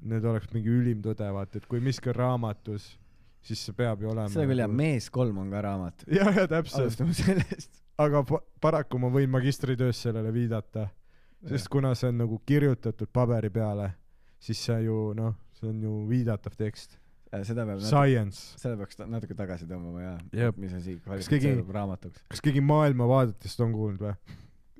Speaker 1: need oleks mingi ülim tõde , vaata , et kui miski on raamatus , siis see peab ju olema .
Speaker 2: seda küll jah , Mees kolm on ka raamat .
Speaker 1: jah , ja täpselt ,
Speaker 2: alustame sellest .
Speaker 1: aga pa- paraku ma võin magistritöös sellele viidata , sest kuna see on nagu kirjutatud paberi peale , siis see ju noh , see on ju viidatav tekst ,
Speaker 2: seda peab natuke ,
Speaker 1: science .
Speaker 2: seda peaks ta- natuke tagasi tõmbama jaa
Speaker 1: Jep.
Speaker 2: mis asi
Speaker 1: keegi-
Speaker 2: kvalifitseerub raamatuks .
Speaker 1: kas keegi maailmavaadetest on kuulnud või ?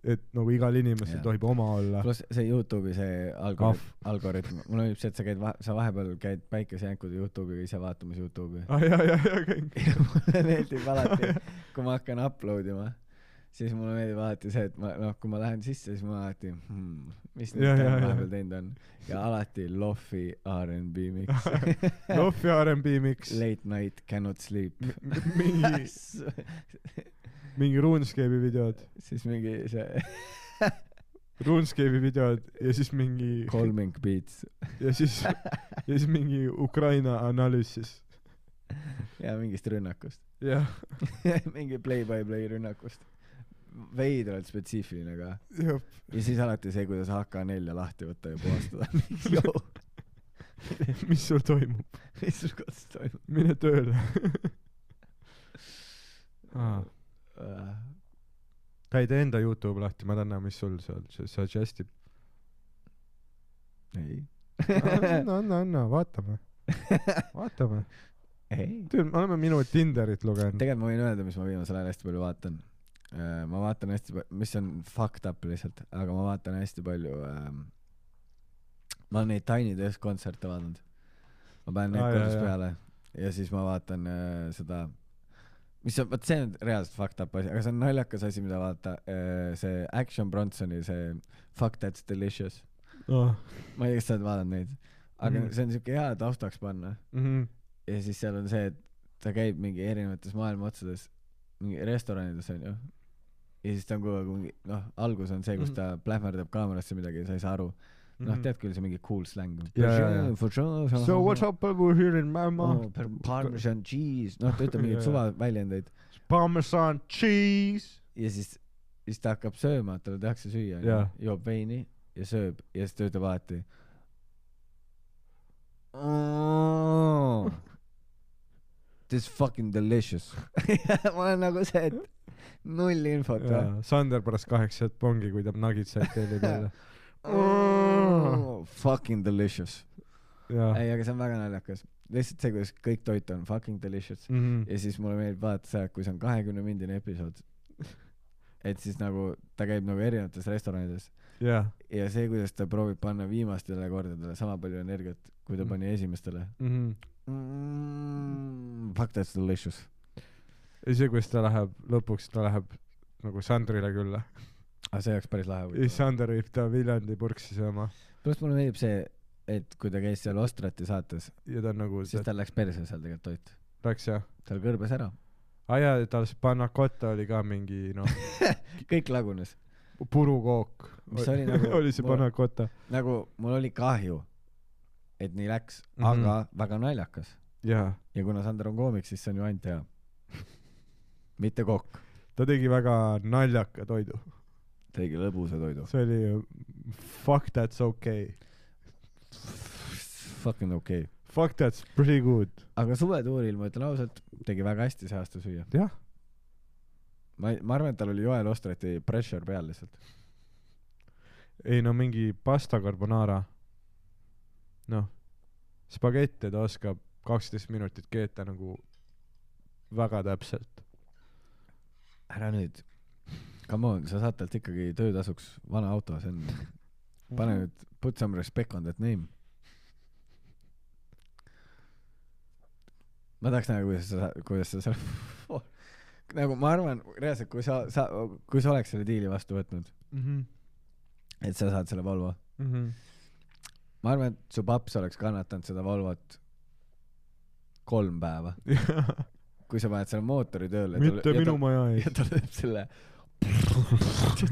Speaker 1: et nagu igal inimesel
Speaker 2: Jah.
Speaker 1: tohib oma olla .
Speaker 2: pluss see Youtube'i see algoritm , algoritm , mulle meeldib see , et sa käid , sa vahepeal käid päikesejänkude Youtube'iga ise vaatamas Youtube'i .
Speaker 1: ah jaa , jaa , jaa , kõik .
Speaker 2: ja mulle meeldib alati , kui ma hakkan upload ima , siis mulle meeldib alati see , et ma noh , kui ma lähen sisse , siis ma alati hmm, , mis
Speaker 1: Jah,
Speaker 2: nüüd
Speaker 1: jah, jah.
Speaker 2: vahepeal teinud on ja alati Lofi R'n'B mix ,
Speaker 1: Lohvi RMB miks ,
Speaker 2: Late night cannot sleep .
Speaker 1: mingi , mingi RuneScape'i videod ,
Speaker 2: siis mingi see
Speaker 1: RuneScape'i videod ja siis mingi
Speaker 2: calming beats
Speaker 1: ja siis , ja siis mingi Ukraina analüüsis .
Speaker 2: ja mingist rünnakust .
Speaker 1: jah ,
Speaker 2: mingi play-by-play rünnakust . veidralt spetsiifiline ka .
Speaker 1: jah .
Speaker 2: ja siis alati see , kuidas AK4 lahti võtta ja puhastada . Joo,
Speaker 1: mis sul toimub ,
Speaker 2: mis sul kodus toimub ?
Speaker 1: mine tööle ah. . ta ei tee enda Youtube lahti , ma tahan näha , mis sul seal su- suggest ib .
Speaker 2: ei .
Speaker 1: anna , anna , anna , vaatame , vaatame .
Speaker 2: ei .
Speaker 1: tead , me oleme minu Tinderit lugenud .
Speaker 2: tegelikult ma võin öelda , mis ma viimasel ajal hästi palju vaatan . ma vaatan hästi palju , mis on fucked up lihtsalt , aga ma vaatan hästi palju ähm, ma olen neid Tiny Desk kontserte vaadanud . ma panen
Speaker 1: Aa,
Speaker 2: need
Speaker 1: jaa,
Speaker 2: kodus
Speaker 1: jaa.
Speaker 2: peale ja siis ma vaatan äh, seda , mis on , vot see on reaalselt fucked up asi , aga see on naljakas asi , mida vaadata äh, . see Action Bronsoni see Fuck That's Delicious ,
Speaker 1: oh. .
Speaker 2: ma ei tea , kas sa oled vaadanud neid , aga
Speaker 1: Mhm.
Speaker 2: mm. see on siuke hea taustaks panna
Speaker 1: Mm -hmm.
Speaker 2: ja siis seal on see , et ta käib mingi erinevates maailma otsades , mingi restoranides onju . ja siis ta on kogu aeg mingi , noh , algus on see , kus
Speaker 1: Mhm.
Speaker 2: ta plähmerdab kaamerasse midagi ja sa ei saa aru . noh , tead küll , see mingi cool släng .
Speaker 1: Jaa, jaa, jaa. So what's up over here in Mama
Speaker 2: oh, ? Parmesan cheese , noh , ta ütleb mingeid
Speaker 1: Jaa.
Speaker 2: suvaväljendeid
Speaker 1: Parmesan cheese .
Speaker 2: ja siis , siis ta hakkab sööma , talle tehakse süüa noh,
Speaker 1: Jaa. ,
Speaker 2: joob veini ja sööb ja siis ta ütleb alati . Oh, this fucking delicious . ma olen nagu see , et null infot yeah. .
Speaker 1: Sander pärast kaheksat pongi , kui ta nagitsaid tellib jälle .
Speaker 2: Oh, fucking delicious .
Speaker 1: jaa .
Speaker 2: ei , aga see on väga naljakas . lihtsalt see , kuidas kõik toit on fucking delicious .
Speaker 1: Mhm.
Speaker 2: ja siis mulle meeldib vaadata seda , kui see on kahekümne mindine episood . et siis nagu ta käib nagu erinevates restoranides
Speaker 1: jah .
Speaker 2: ja see , kuidas ta proovib panna viimastele kordadele sama palju energiat , kui ta
Speaker 1: Mhm.
Speaker 2: pani esimestele mm, . Fuck that's delicious .
Speaker 1: ja see , kuidas ta läheb , lõpuks ta läheb nagu Sandrile külla .
Speaker 2: aga see oleks päris lahe
Speaker 1: ja siis
Speaker 2: võib-olla .
Speaker 1: Sander viib ta Viljandi purksi sööma
Speaker 2: pluss mulle meeldib see , et kui ta käis seal Ostrati saates ,
Speaker 1: ja ta on nagu ,
Speaker 2: siis tal läks perse seal tegelikult toit .
Speaker 1: läks jah .
Speaker 2: tal kõrbes ära .
Speaker 1: aa jaa , tal see panacotta oli ka mingi noh ,
Speaker 2: kõik lagunes .
Speaker 1: purukook .
Speaker 2: Mis oli nagu-
Speaker 1: oli see
Speaker 2: mul-
Speaker 1: panacotta .
Speaker 2: nagu mul oli kahju , et nii läks
Speaker 1: Mhm.
Speaker 2: mm , -hmm. aga väga naljakas .
Speaker 1: jaa .
Speaker 2: ja kuna Sander on koomik , siis see on ju ainult hea . mitte kokk ,
Speaker 1: ta tegi väga naljaka toidu .
Speaker 2: tegi lõbusa toidu .
Speaker 1: see oli ju fuck that's okay .
Speaker 2: Fucking okei okay. .
Speaker 1: Fuck that's pretty good .
Speaker 2: aga suvetuuril ma ütlen ausalt , tegi väga hästi see aasta süüa .
Speaker 1: jah .
Speaker 2: ma , ma arvan , et tal oli Joel Ostrati pressure peal lihtsalt .
Speaker 1: ei no mingi pasta carbonara . noh , spagette ta oskab kaksteist minutit keeta nagu väga täpselt .
Speaker 2: ära nüüd . Come on , sa saad talt ikkagi töötasuks vana auto , see on , pane . nüüd , put some respect on that name . ma tahaks näha , kuidas sa , kuidas sa seal , nagu ma arvan reaalselt , kui sa , sa , kui sa oleks selle diili vastu võtnud ,
Speaker 1: Mhm.
Speaker 2: et sa saad selle Volvo . ma arvan , et su paps oleks kannatanud seda Volvot kolm päeva ,
Speaker 1: Mhm.
Speaker 2: kui sa paned selle mootori tööle .
Speaker 1: mitte minu maja
Speaker 2: ja
Speaker 1: ees .
Speaker 2: ta lööb selle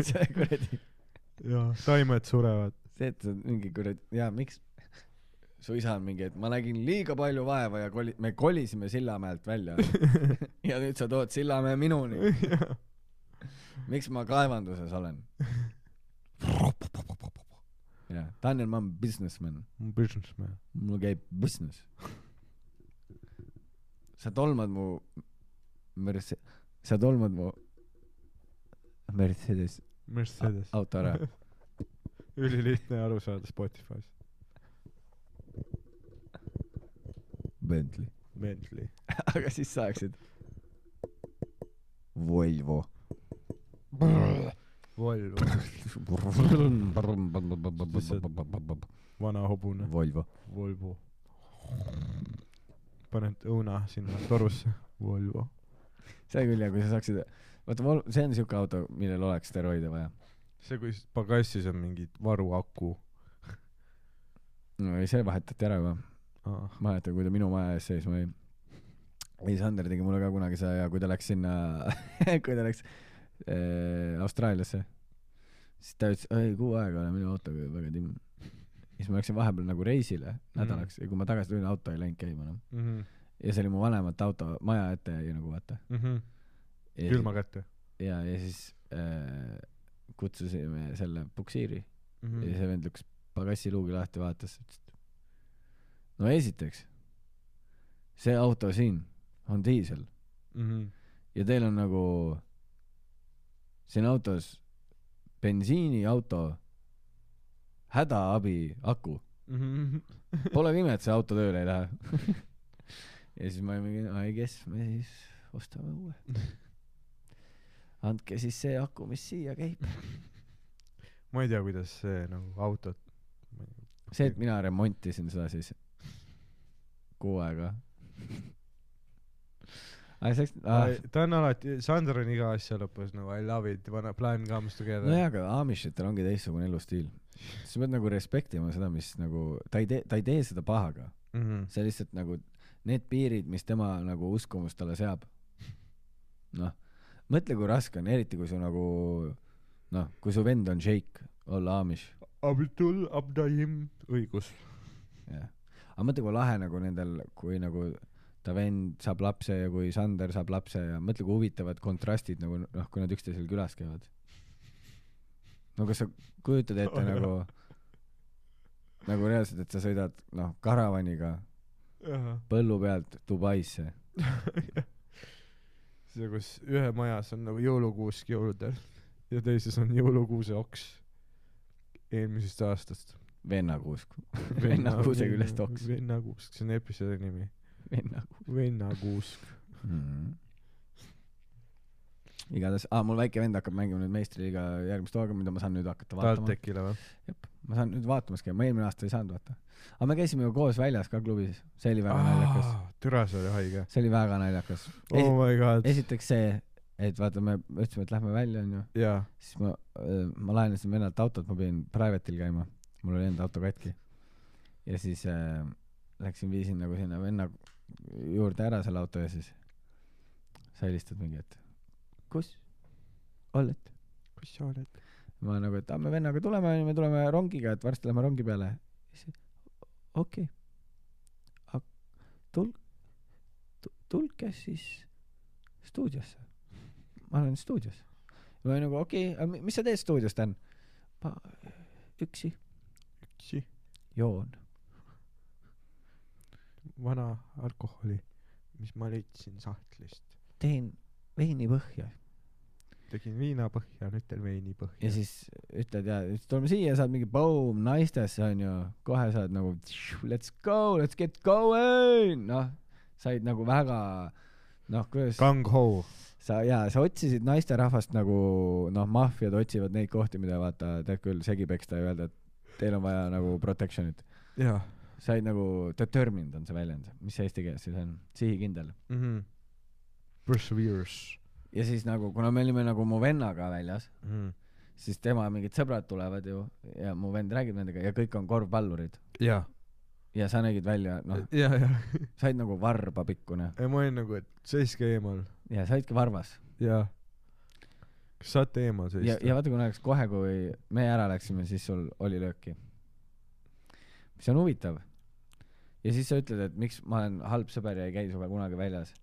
Speaker 2: see kuradi ,
Speaker 1: jaa , taimed surevad .
Speaker 2: see , et sa mingi kuradi , jaa , miks su isa on mingi , et ma nägin liiga palju vaeva ja koli- , me kolisime Sillamäelt välja ja nüüd sa tood Sillamäe minuni . miks ma kaevanduses olen ? jah , Daniel , ma olen businessman ,
Speaker 1: Businessman .
Speaker 2: mul käib business . sa tolmad mu Merce- , sa tolmad mu Mercedes
Speaker 1: Mercedes .
Speaker 2: auto ära .
Speaker 1: ülilihtne aru saada Spotify's .
Speaker 2: Bentley .
Speaker 1: Bentley .
Speaker 2: aga siis saaksid . Volvo .
Speaker 1: Volvo . vana hobune .
Speaker 2: Volvo .
Speaker 1: Volvo . paned õuna sinna torusse . Volvo .
Speaker 2: see küll jah , kui sa saaksid , vaata Vol- , see on siuke auto , millel oleks steroide vaja .
Speaker 1: see , kui s- pagassis on mingi varuaku .
Speaker 2: no ei , see vahetati ära juba . ma mäletan , kui ta minu maja ees seisma jäi . ei , Sander tegi mulle ka kunagi seda ja kui ta läks sinna , kui ta läks äh, Austraaliasse , siis ta ütles , ei kuu aega olen minu autoga ju väga timm . siis ma läksin vahepeal nagu reisile nädalaks mm. ja kui ma tagasi tulin , auto ei läinud käima enam .
Speaker 1: Mhm,
Speaker 2: ja see oli mu vanemate auto maja ette jäi nagu vaata .
Speaker 1: mhm. külma kätte .
Speaker 2: ja , ja siis äh, kutsusime selle puksiiri mm.
Speaker 1: Mhm.
Speaker 2: ja see vend lükkas pagassi luugi lahti , vaatas , ütles , et no esiteks , see auto siin on diisel
Speaker 1: Mhm.
Speaker 2: ja teil on nagu siin autos bensiiniauto hädaabi aku .
Speaker 1: Mhm.
Speaker 2: Pole ime , et see auto tööle ei lähe . ja siis ma olin mingi , I guess me siis ostame uue . andke siis see aku , mis siia käib .
Speaker 1: ma ei tea , kuidas see nagu autot ma ei tea,
Speaker 2: see , et mina remontisin seda siis kuu aega . aga see läks ah, ,
Speaker 1: ta on alati , Sander on iga asja lõpus nagu I love it , wanna plan comes together
Speaker 2: nojah , aga Amishitel ongi teistsugune elustiil . sa pead nagu respektima seda , mis nagu , ta ei tee , ta ei tee seda pahaga .
Speaker 1: mm . -hmm.
Speaker 2: see lihtsalt nagu , need piirid , mis tema nagu uskumus talle seab . noh , mõtle , kui raske on , eriti kui su nagu , noh , kui su vend on šeik , olla Amish .
Speaker 1: Abdul Abdahim , õigus .
Speaker 2: jah . aga mõtle , kui lahe nagu nendel , kui nagu ta vend saab lapse ja kui Sander saab lapse ja mõtle , kui huvitavad kontrastid nagu noh , kui nad üksteisel külas käivad . no kas sa kujutad ette nagu , nagu reaalselt , et sa sõidad noh , karavaniga põllu pealt Dubaisse .
Speaker 1: see , kus ühe majas on nagu jõulukuusk jõuludel ja teises on jõulukuuse oks eelmisest aastast .
Speaker 2: vennakuusk . vennakuuse küljest oks .
Speaker 1: vennakuusk , see on episoodi nimi .
Speaker 2: vennakuusk
Speaker 1: vennakuusk .
Speaker 2: mm. . igatahes ah, , mul väike vend hakkab mängima nüüd meistriliiga järgmist hooga , mida ma saan nüüd hakata vaatama .
Speaker 1: TalTechile või ?
Speaker 2: ma saan nüüd vaatamas käia , ma eelmine aasta ei saanud vaata . aga me käisime ju koos väljas ka klubis , see oli väga naljakas ,.
Speaker 1: türa , see oli haige .
Speaker 2: see oli väga naljakas .
Speaker 1: Oh my god .
Speaker 2: esiteks see , et vaata , me ütlesime , et lähme välja onju ,
Speaker 1: jaa .
Speaker 2: siis ma , ma laenasin vennalt autot , ma pidin private'il käima , mul oli enda auto katki . ja siis äh, läksin , viisin nagu sinna venna juurde ära selle auto ja siis sa helistad mingi , et kus oled ?
Speaker 1: kus sa oled ?
Speaker 2: ma nagu , et aa , me vennaga tuleme , me tuleme rongiga , et varsti lähme rongi peale . siis okei okay. . tul- , tulge siis stuudiosse . ma olen stuudios . ma olin nagu okei okay, , aga mis sa teed stuudios , Dan ? ma üksi
Speaker 1: üksi .
Speaker 2: joon .
Speaker 1: vana alkoholi , mis ma leidsin sahtlist .
Speaker 2: teen veini põhja .
Speaker 1: tegin viina põhja , nüüd teen veini põhja .
Speaker 2: ja siis ütled ja siis tuleme siia , saad mingi boom naistesse onju , kohe saad nagu let's go , let's get going , noh , said nagu väga noh , kuidas
Speaker 1: Kang Ho .
Speaker 2: sa jaa , sa otsisid naisterahvast nagu noh , maffiad otsivad neid kohti , mida vaata , tead küll , segi peksta ja öelda , et teil on vaja nagu protection'it .
Speaker 1: jaa
Speaker 2: said nagu determined on see väljend , mis see eesti keeles siis on , sihikindel .
Speaker 1: mm . -hmm. Perseveres
Speaker 2: ja siis nagu , kuna me olime nagu mu vennaga väljas ,
Speaker 1: mm . -hmm.
Speaker 2: siis tema mingid sõbrad tulevad ju ja mu vend räägib nendega ja kõik on korvpallurid
Speaker 1: jaa .
Speaker 2: ja sa nägid välja , noh ,
Speaker 1: jaa , jaa .
Speaker 2: said nagu varbapikkune
Speaker 1: ei , ma olin nagu , et seiske eemal .
Speaker 2: ja saidki varvas
Speaker 1: jaa . kas saate eemal
Speaker 2: ja ,
Speaker 1: seista ?
Speaker 2: ja vaata , kui näiteks kohe , kui me ära läksime , siis sul oli lööki . mis on huvitav . ja siis sa ütled , et miks ma olen halb sõber ja ei käi sinuga kunagi väljas .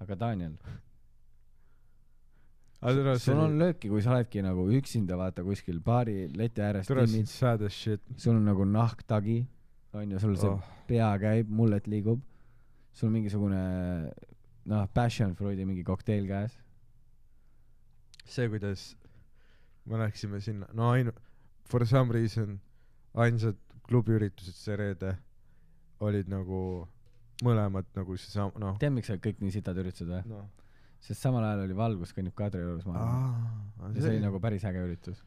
Speaker 2: aga Daniel ,
Speaker 1: aga
Speaker 2: sul on
Speaker 1: tere ,
Speaker 2: lööki , kui sa oledki nagu üksinda , vaata kuskil baari leti ääres
Speaker 1: tere , see on
Speaker 2: timmid ,
Speaker 1: sad as shit .
Speaker 2: sul on nagu nahktagi , onju , sul see
Speaker 1: Oh.
Speaker 2: oh. pea käib , mullet liigub , sul mingisugune noh , passion fruit'i mingi kokteil käes .
Speaker 1: see , kuidas me läksime sinna , no ainu- , for some reason ainsad klubiüritused see reede olid nagu mõlemad nagu seesama , noh .
Speaker 2: tead , miks sa kõik nii sitad üritused või ?
Speaker 1: noh .
Speaker 2: sest samal ajal oli Valgus kõnnib Kadriorus maha . ja see oli nagu , päris äge üritus .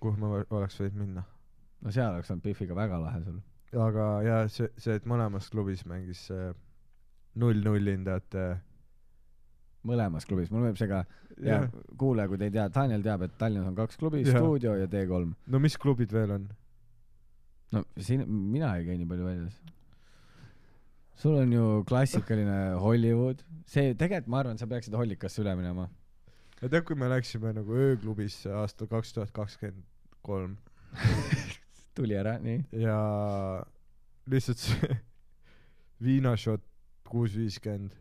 Speaker 1: kuhu ma võ- oleks võinud minna .
Speaker 2: no seal oleks olnud Biffiga väga lahe sul .
Speaker 1: aga jaa , see , see , et mõlemas klubis mängis see null-null hindajate
Speaker 2: mõlemas klubis , mulle meeldib see ka . ja kuule , kui te ei tea , Daniel teab , et Tallinnas on kaks klubi ,
Speaker 1: Jah.
Speaker 2: Stuudio ja T3 .
Speaker 1: no mis klubid veel on ?
Speaker 2: no siin , mina ei käi nii palju väljas . sul on ju klassikaline Hollywood , see tegelikult ma arvan , sa peaksid Hollikasse üle minema .
Speaker 1: ja tead , kui me läksime nagu ööklubisse aastal kaks tuhat kakskümmend kolm
Speaker 2: tuli ära , nii .
Speaker 1: ja lihtsalt see viinašot kuus viiskümmend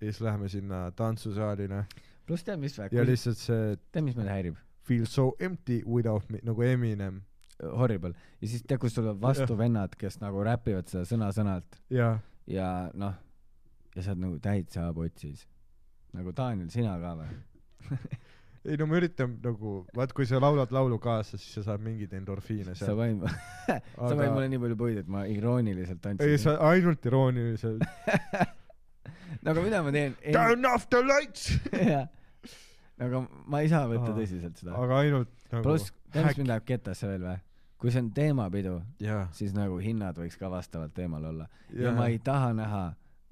Speaker 1: ja siis läheme sinna tantsusaalile
Speaker 2: pluss tead , mis värk
Speaker 1: ja , lihtsalt see
Speaker 2: tead , mis mind häirib ?
Speaker 1: feel so empty without me nagu Eminem
Speaker 2: Horrible . ja siis tead , kus tulevad vastu
Speaker 1: Jah.
Speaker 2: vennad , kes nagu räpivad seda sõna-sõnalt
Speaker 1: ja
Speaker 2: ja noh , ja sa oled nagu täitsa potsis . nagu Daniel , sina ka või ?
Speaker 1: ei no ma üritan nagu vaat kui sa laulad laulu kaasa siis sa saad mingeid endorfiine
Speaker 2: sa
Speaker 1: seal
Speaker 2: panid , sa panid mulle nii palju puid , et ma irooniliselt
Speaker 1: ei
Speaker 2: andsin .
Speaker 1: sa ainult irooniliselt
Speaker 2: no aga Nagu mida ma teen ?
Speaker 1: turn off the lights
Speaker 2: aga ma ei saa võtta
Speaker 1: Aa.
Speaker 2: tõsiselt seda .
Speaker 1: aga ainult nagu
Speaker 2: pluss , tead ,
Speaker 1: häkk.
Speaker 2: mis mind läheb ketasse veel või ? kui see on teemapidu ,
Speaker 1: jaa .
Speaker 2: siis nagu hinnad võiks ka vastavalt teemal olla . ja ma ei taha näha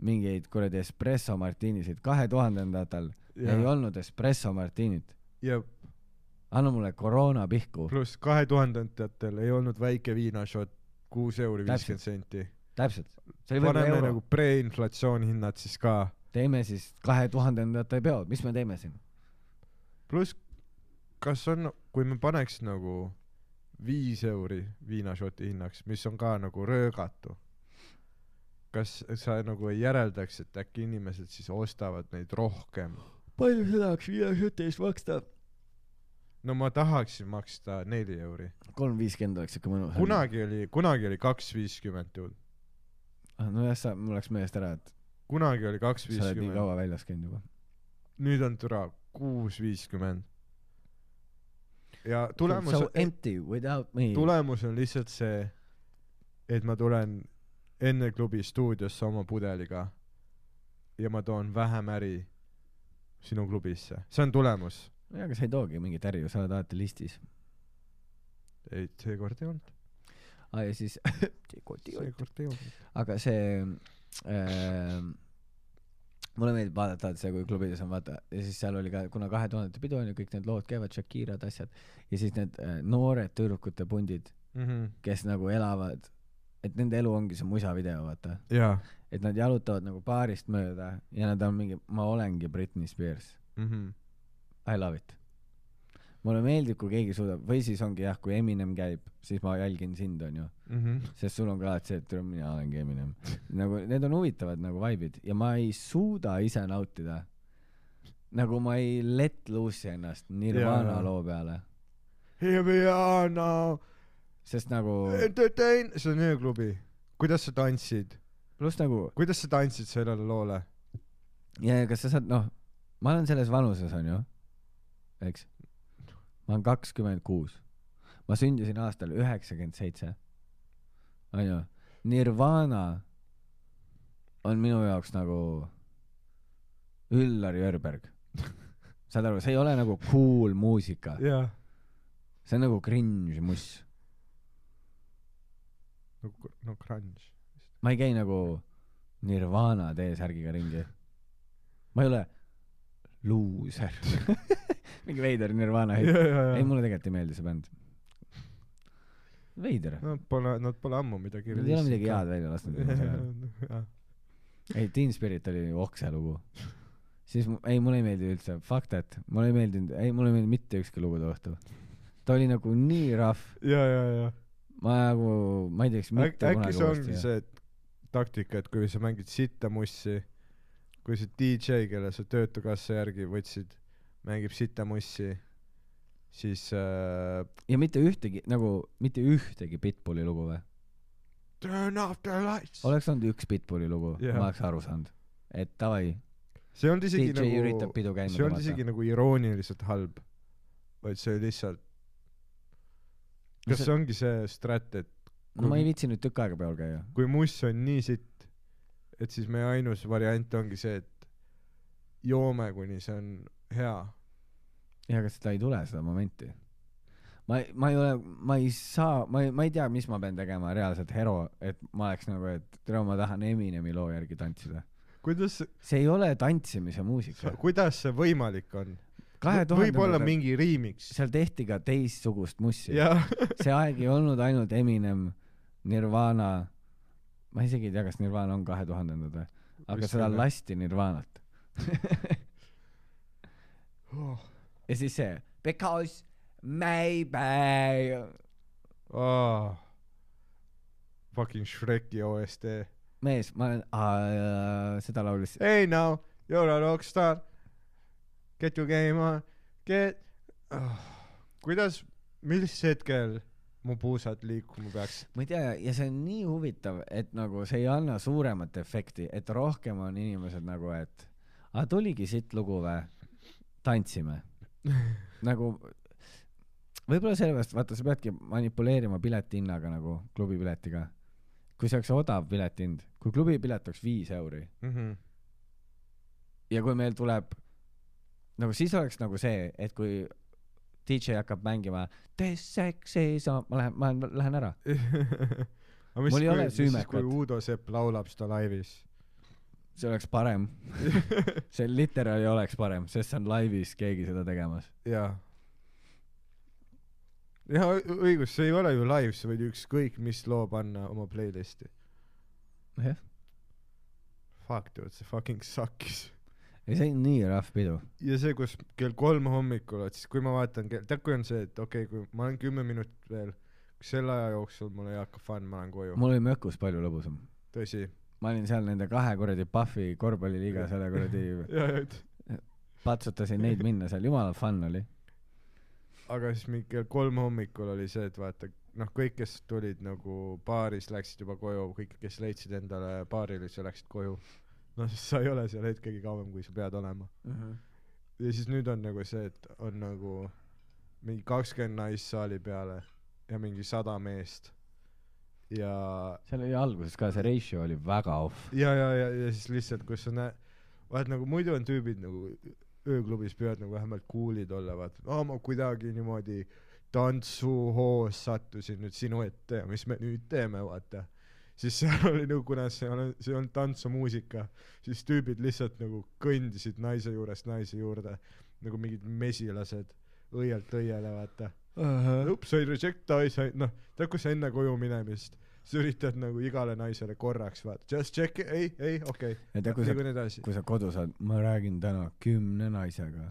Speaker 2: mingeid kuradi espresso martiinisid . kahe tuhandendatel ei olnud espresso martiinit .
Speaker 1: ja
Speaker 2: anna mulle koroona pihku .
Speaker 1: pluss kahe tuhandendatel ei olnud väike viinašot kuus euri
Speaker 2: Täpselt.
Speaker 1: viiskümmend senti .
Speaker 2: täpselt . see oli võib-olla
Speaker 1: paneme
Speaker 2: euro
Speaker 1: nagu . preinflatsiooni hinnad siis ka .
Speaker 2: teeme siis kahe tuhandendate peod , mis me teeme siin ?
Speaker 1: pluss , kas on , kui me paneks nagu viis euri viinašoti hinnaks , mis on ka nagu röögatu , kas sa nagu ei järeldaks , et äkki inimesed siis ostavad neid rohkem ?
Speaker 2: palju see tahaks viie šoti eest maksta ?
Speaker 1: no ma tahaksin maksta neli euri .
Speaker 2: kolm viiskümmend oleks siuke mõnus .
Speaker 1: kunagi oli , kunagi oli kaks viiskümmend ju .
Speaker 2: nojah , Ah, sa , mul läks meelest ära , et
Speaker 1: kunagi oli kaks
Speaker 2: sa oled nii
Speaker 1: viiskümmend ,
Speaker 2: kaua väljas käinud juba .
Speaker 1: nüüd on türa kuus viiskümmend . ja tulemus
Speaker 2: So , empty without me .
Speaker 1: tulemus on lihtsalt see , et ma tulen enne klubi stuudiosse oma pudeliga ja ma toon vähem äri sinu klubisse , see on tulemus .
Speaker 2: jaa , aga sa ei toogi mingit äri ju , sa oled alati listis .
Speaker 1: ei , seekord ei olnud ,
Speaker 2: aa , Ah, ja siis
Speaker 1: seekord ei olnud .
Speaker 2: aga see äh, mulle meeldib vaadata alati seda , kui klubides on vaata ja siis seal oli ka , kuna kahe tuhandete pidu on ju , kõik need lood käivad , Shakirad , asjad ja siis need äh, noored tüdrukute pundid ,
Speaker 1: Mm -hmm.
Speaker 2: kes nagu elavad , et nende elu ongi see musavideo , vaata ,
Speaker 1: jaa
Speaker 2: et nad jalutavad nagu baarist mööda ja nad on mingi , ma olengi Britney Spears ,
Speaker 1: mm . -hmm.
Speaker 2: I love it . mulle meeldib , kui keegi suudab või siis ongi jah , kui Eminem käib , siis ma jälgin sind , onju
Speaker 1: Mm -hmm.
Speaker 2: sest sul on ka alati see , et tule, mina olengi Eminem . nagu need on huvitavad nagu vibe'id ja ma ei suuda ise nautida . nagu ma ei let loose'i ennast Nirvana
Speaker 1: Jaa.
Speaker 2: loo peale ,
Speaker 1: Here we are now ,
Speaker 2: sest nagu ,
Speaker 1: entertain , see on ööklubi . kuidas sa tantsid ,
Speaker 2: pluss nagu ,
Speaker 1: kuidas sa tantsid sellele loole ?
Speaker 2: ja ja kas sa saad , noh , ma olen selles vanuses onju , eks . ma olen kakskümmend kuus , ma sündisin aastal üheksakümmend seitse , onju . Nirvana on minu jaoks nagu Üllar Jörberg . saad aru , see ei ole nagu cool muusika ,
Speaker 1: jaa .
Speaker 2: see on nagu cringe muss .
Speaker 1: no , no crunch .
Speaker 2: ma ei käi nagu Nirvana T-särgiga ringi . ma ei ole luuser . mingi veider Nirvana hetk . ei , mulle tegelikult ei meeldi see bänd . veider .
Speaker 1: Nad pole , nad pole ammu midagi .
Speaker 2: Nad ei ole midagi head välja lasknud viimasel ajal .
Speaker 1: head .
Speaker 2: ei , Teen Spirit oli okse lugu . siis , ei , mulle ei meeldi üldse , fuck that . mulle ei meeldinud , ei , mulle ei meeldinud mitte ükski lugu too õhtu . ta oli nagu nii rough ,
Speaker 1: ja , ja , ja
Speaker 2: ma nagu , ma ei teeks
Speaker 1: Äk,
Speaker 2: mitte
Speaker 1: äkki
Speaker 2: kunagi
Speaker 1: see ongi
Speaker 2: uuesti .
Speaker 1: see taktika , et kui sa mängid sitta mussi , kui see DJ , kelle sa Töötukassa järgi võtsid , mängib sitta mussi , siis äh,
Speaker 2: ja mitte ühtegi , nagu mitte ühtegi Pitbulli lugu või ?
Speaker 1: turn off the lights .
Speaker 2: oleks olnud üks Pitbulli lugu
Speaker 1: Jah.
Speaker 2: yeah. , ma oleks aru saanud . et davai ,
Speaker 1: see on
Speaker 2: DJ
Speaker 1: isegi
Speaker 2: nagu, üritab
Speaker 1: nagu ,
Speaker 2: pidu käima
Speaker 1: see on isegi nagu irooniliselt halb , vaid see lihtsalt , kas see ongi see strat , et
Speaker 2: no ma ei viitsi nüüd tükk aega peal käia .
Speaker 1: kui muss on nii sitt , et siis meie ainus variant ongi see , et joome , kuni see on hea .
Speaker 2: jaa , aga seda ei tule , seda momenti . ma ei , ma ei ole , ma ei saa , ma ei , ma ei tea , mis ma pean tegema reaalselt hero , et ma oleks nagu , et tere , ma tahan Eminemi loo järgi tantsida .
Speaker 1: kuidas ,
Speaker 2: see ei ole tantsimise muusika .
Speaker 1: kuidas see võimalik on ?
Speaker 2: kahe
Speaker 1: võib-olla
Speaker 2: tuhandendatel
Speaker 1: mingi remix .
Speaker 2: seal tehti ka teistsugust mussi .
Speaker 1: jah ,
Speaker 2: see aeg ei olnud ainult Eminem , Nirvana , ma isegi ei tea , kas Nirvana on kahe tuhandendad või , aga
Speaker 1: Vist
Speaker 2: seda
Speaker 1: küll, jah.
Speaker 2: lasti Nirvanat
Speaker 1: Oh.
Speaker 2: ja siis see Because maybe
Speaker 1: fucking Shreki OST .
Speaker 2: mees , ma olen uh, , seda laulis ,
Speaker 1: Hey now , you are a rockstar . Get your game on , get oh. . kuidas , mis hetkel mu puusad liikuma peaks ?
Speaker 2: ma ei tea , ja see on nii huvitav , et nagu see ei anna suuremat efekti , et rohkem on inimesed nagu , et aa , tuligi siit lugu vä , tantsime . nagu võib-olla sellepärast , vaata , sa peadki manipuleerima piletihinnaga nagu klubipiletiga . kui see oleks odav piletihind , kui klubipilet oleks viis euri
Speaker 1: Mm -hmm.
Speaker 2: ja kui meil tuleb , nagu siis oleks nagu see , et kui DJ hakkab mängima This sex is on , ma lähen , ma lähen- lähen ära .
Speaker 1: aga
Speaker 2: Mul
Speaker 1: mis
Speaker 2: ei ole
Speaker 1: siis , kui ,
Speaker 2: süümekat.
Speaker 1: kui Uudo Sepp laulab seda laivis
Speaker 2: see oleks parem . see literaali oleks parem , sest see on laivis keegi seda tegemas .
Speaker 1: jaa . jah , õigus , see ei ole ju live , sa võid ükskõik mis loo panna oma playlist'i .
Speaker 2: jah .
Speaker 1: Fuck dude , see fucking suckis .
Speaker 2: ei , see on nii rahv pidu .
Speaker 1: ja see , kus kell kolm hommikul , et siis kui ma vaatan , tead , kui on see , et okei okay, , kui ma olen kümme minutit veel , selle aja jooksul mul ei hakka fun , ma lähen koju .
Speaker 2: mul oli mökus palju lõbusam .
Speaker 1: tõsi .
Speaker 2: ma olin seal nende kahe kuradi Pahvi korvpalliliiga selle kuradi ,
Speaker 1: ja , ja , et
Speaker 2: patsutasin neid minna seal , jumala fun oli .
Speaker 1: aga siis mingi kell kolm hommikul oli see , et vaata , noh , kõik , kes tulid nagu baaris , läksid juba koju , kõik , kes leidsid endale baarilise , läksid koju . noh , sest sa ei ole seal hetkegi kauem , kui sa pead olema .
Speaker 2: Mhm.
Speaker 1: ja siis nüüd on nagu see , et on nagu mingi kakskümmend naist saali peale ja mingi sada meest . ja ,
Speaker 2: seal oli alguses ka see ratio oli väga off .
Speaker 1: ja , ja , ja , ja siis lihtsalt , kus sa näed , vaat nagu muidu on tüübid nagu ööklubis püüavad nagu vähemalt cool'id olla , vaata , aa ma kuidagi niimoodi tantsuhoos sattusin nüüd sinu ette ja mis me nüüd teeme , vaata . siis seal oli nagu , kuna see on , see on tantsumuusika , siis tüübid lihtsalt nagu kõndisid naise juurest naise juurde nagu mingid mesilased õielt õiele , vaata . Ups , I reject I said , noh , tead , kus sa enne koju minemist , sa üritad nagu igale naisele korraks vaata , just check , ei , ei , okei okay. ,
Speaker 2: ja tead , kui sa
Speaker 1: liigun edasi .
Speaker 2: kui sa kodus oled , ma räägin täna kümne naisega .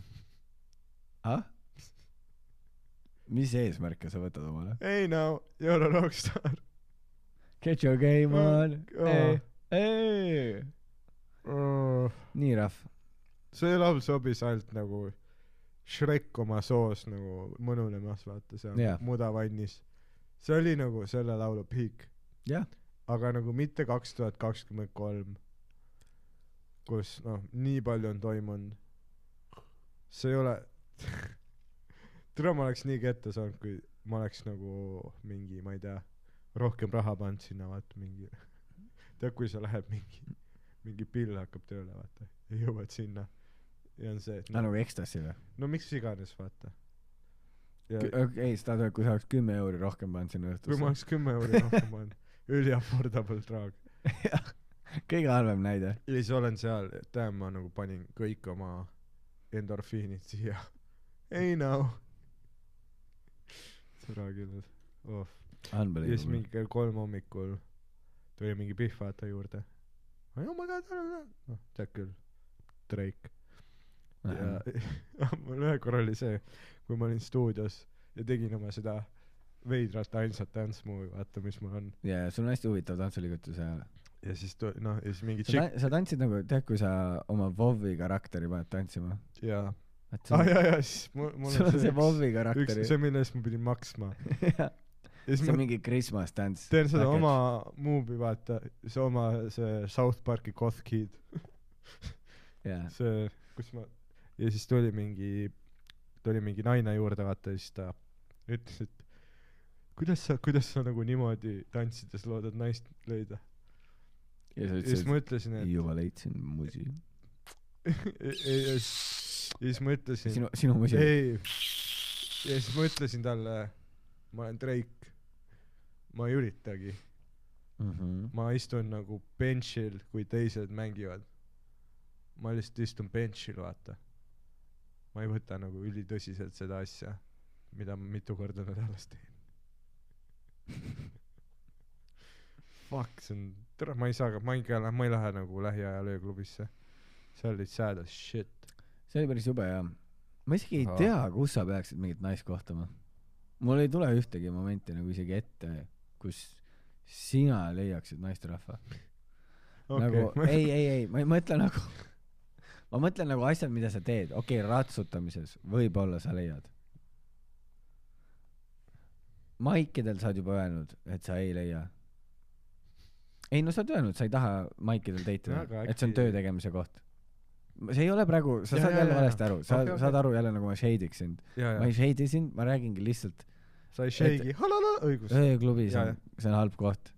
Speaker 2: ah ? mis eesmärke sa võtad omale ?
Speaker 1: ei no , you are a rockstar .
Speaker 2: Get your game on
Speaker 1: Oh.
Speaker 2: hey, . Hey. nii rahv .
Speaker 1: see laul sobis ainult nagu Shrek oma soos nagu mõnulemas , vaata seal
Speaker 2: Jah.
Speaker 1: yeah. mudavannis . see oli nagu selle laulu peak .
Speaker 2: Jah.
Speaker 1: aga nagu mitte kaks tuhat kakskümmend kolm , kus noh , nii palju on toimunud . see ei ole , türa ma oleks nii kätte saanud , kui ma oleks nagu mingi , ma ei tea , rohkem raha pannud sinna vaata mingi , tead kui sa lähed mingi , mingi pill hakkab tööle vaata ja jõuad sinna ja on see , et
Speaker 2: aa
Speaker 1: no,
Speaker 2: nagu Ecstasy või ?
Speaker 1: no miks iganes vaata . ja
Speaker 2: ei , seda tuleb , kui sa oleks kümme euri rohkem pannud sinna
Speaker 1: kui ma
Speaker 2: õhtusse .
Speaker 1: oleks kümme euri rohkem pannud , üli affordable traag .
Speaker 2: kõige halvem näide .
Speaker 1: ja siis olen seal , täna ma nagu panin kõik oma endorfiinid siia . ei noh. no . sõra küll , oh . ja siis
Speaker 2: Unbelievable .
Speaker 1: mingi kell kolm hommikul tuli mingi Pihv vaata juurde . oh my god , noh tead küll , Drake . ja ah, mul ühe korra oli see , kui ma olin stuudios ja tegin oma seda veidrat ainsat dance move'i , vaata mis mul on .
Speaker 2: ja , ja sul on hästi huvitav tantsuliigutus ja
Speaker 1: ja siis tu- , noh ja siis mingi
Speaker 2: sa,
Speaker 1: tšikk
Speaker 2: ta- sa tantsid nagu , tead , kui sa oma Vovvi karakteri paned tantsima .
Speaker 1: ja ,
Speaker 2: et
Speaker 1: aa
Speaker 2: sul
Speaker 1: ja , ja siis mul , Ah, mul
Speaker 2: sul on see
Speaker 1: üks-
Speaker 2: Vovvi
Speaker 1: üks ,
Speaker 2: karakteri .
Speaker 1: see , mille eest ma pidin maksma .
Speaker 2: see
Speaker 1: ja siis
Speaker 2: on
Speaker 1: ma
Speaker 2: mingi Christmas dance .
Speaker 1: teen seda oma . muubi , vaata , see oma , see South Park'i Goth Kid ,
Speaker 2: jaa ,
Speaker 1: see , kus ma , ja siis tuli mingi , tuli mingi naine juurde , vaata , ja siis ta ütles , et kuidas sa , kuidas sa nagu niimoodi tantsides loodad naist leida .
Speaker 2: ja sa
Speaker 1: ja siis
Speaker 2: ütlesid ,
Speaker 1: ma ütlesin , et
Speaker 2: juba leidsin musi .
Speaker 1: ja ja siis , ja siis ma ütlesin ,
Speaker 2: sinu , sinu musi .
Speaker 1: ei , ja siis ma ütlesin talle , ma olen Drake , ma ei üritagi
Speaker 2: Mhm.
Speaker 1: ma istun nagu bench'il , kui teised mängivad . ma lihtsalt istun bench'il , vaata . ma ei võta nagu ülitõsiselt seda asja , mida ma mitu korda nädalas teen . Fuck , see on , tere , ma ei saa , ma ikka lähen , ma ei lähe nagu lähiajal ööklubisse . see oli sad as shit .
Speaker 2: see oli päris jube jaa . ma isegi ei
Speaker 1: Ahah.
Speaker 2: tea , kus sa peaksid mingit naist kohtama . mul ei tule ühtegi momenti nagu isegi ette , kus sina leiaksid naisterahva okay. . nagu , ei , ei , ei , ma ei mõtle nagu , ma mõtlen nagu asjad , mida sa teed , okei okay, , ratsutamises võib-olla sa leiad . maikidel sa oled juba öelnud , et sa ei leia . ei no sa oled öelnud , sa ei taha maikidel date
Speaker 1: No
Speaker 2: ida
Speaker 1: aga ,
Speaker 2: et see on
Speaker 1: äkki-
Speaker 2: töö tegemise koht . see ei ole praegu , sa
Speaker 1: Jaa,
Speaker 2: saad
Speaker 1: jaa,
Speaker 2: jälle
Speaker 1: jaa,
Speaker 2: valesti aru , sa
Speaker 1: Okei, okei.
Speaker 2: saad aru jälle nagu ma shade'iks sind .
Speaker 1: ja ,
Speaker 2: ma
Speaker 1: ja
Speaker 2: ei , shade'i sind , ma räägingi lihtsalt
Speaker 1: sa ei shake'i , õigus .
Speaker 2: ööklubis
Speaker 1: Jaa,
Speaker 2: on , see on halb koht .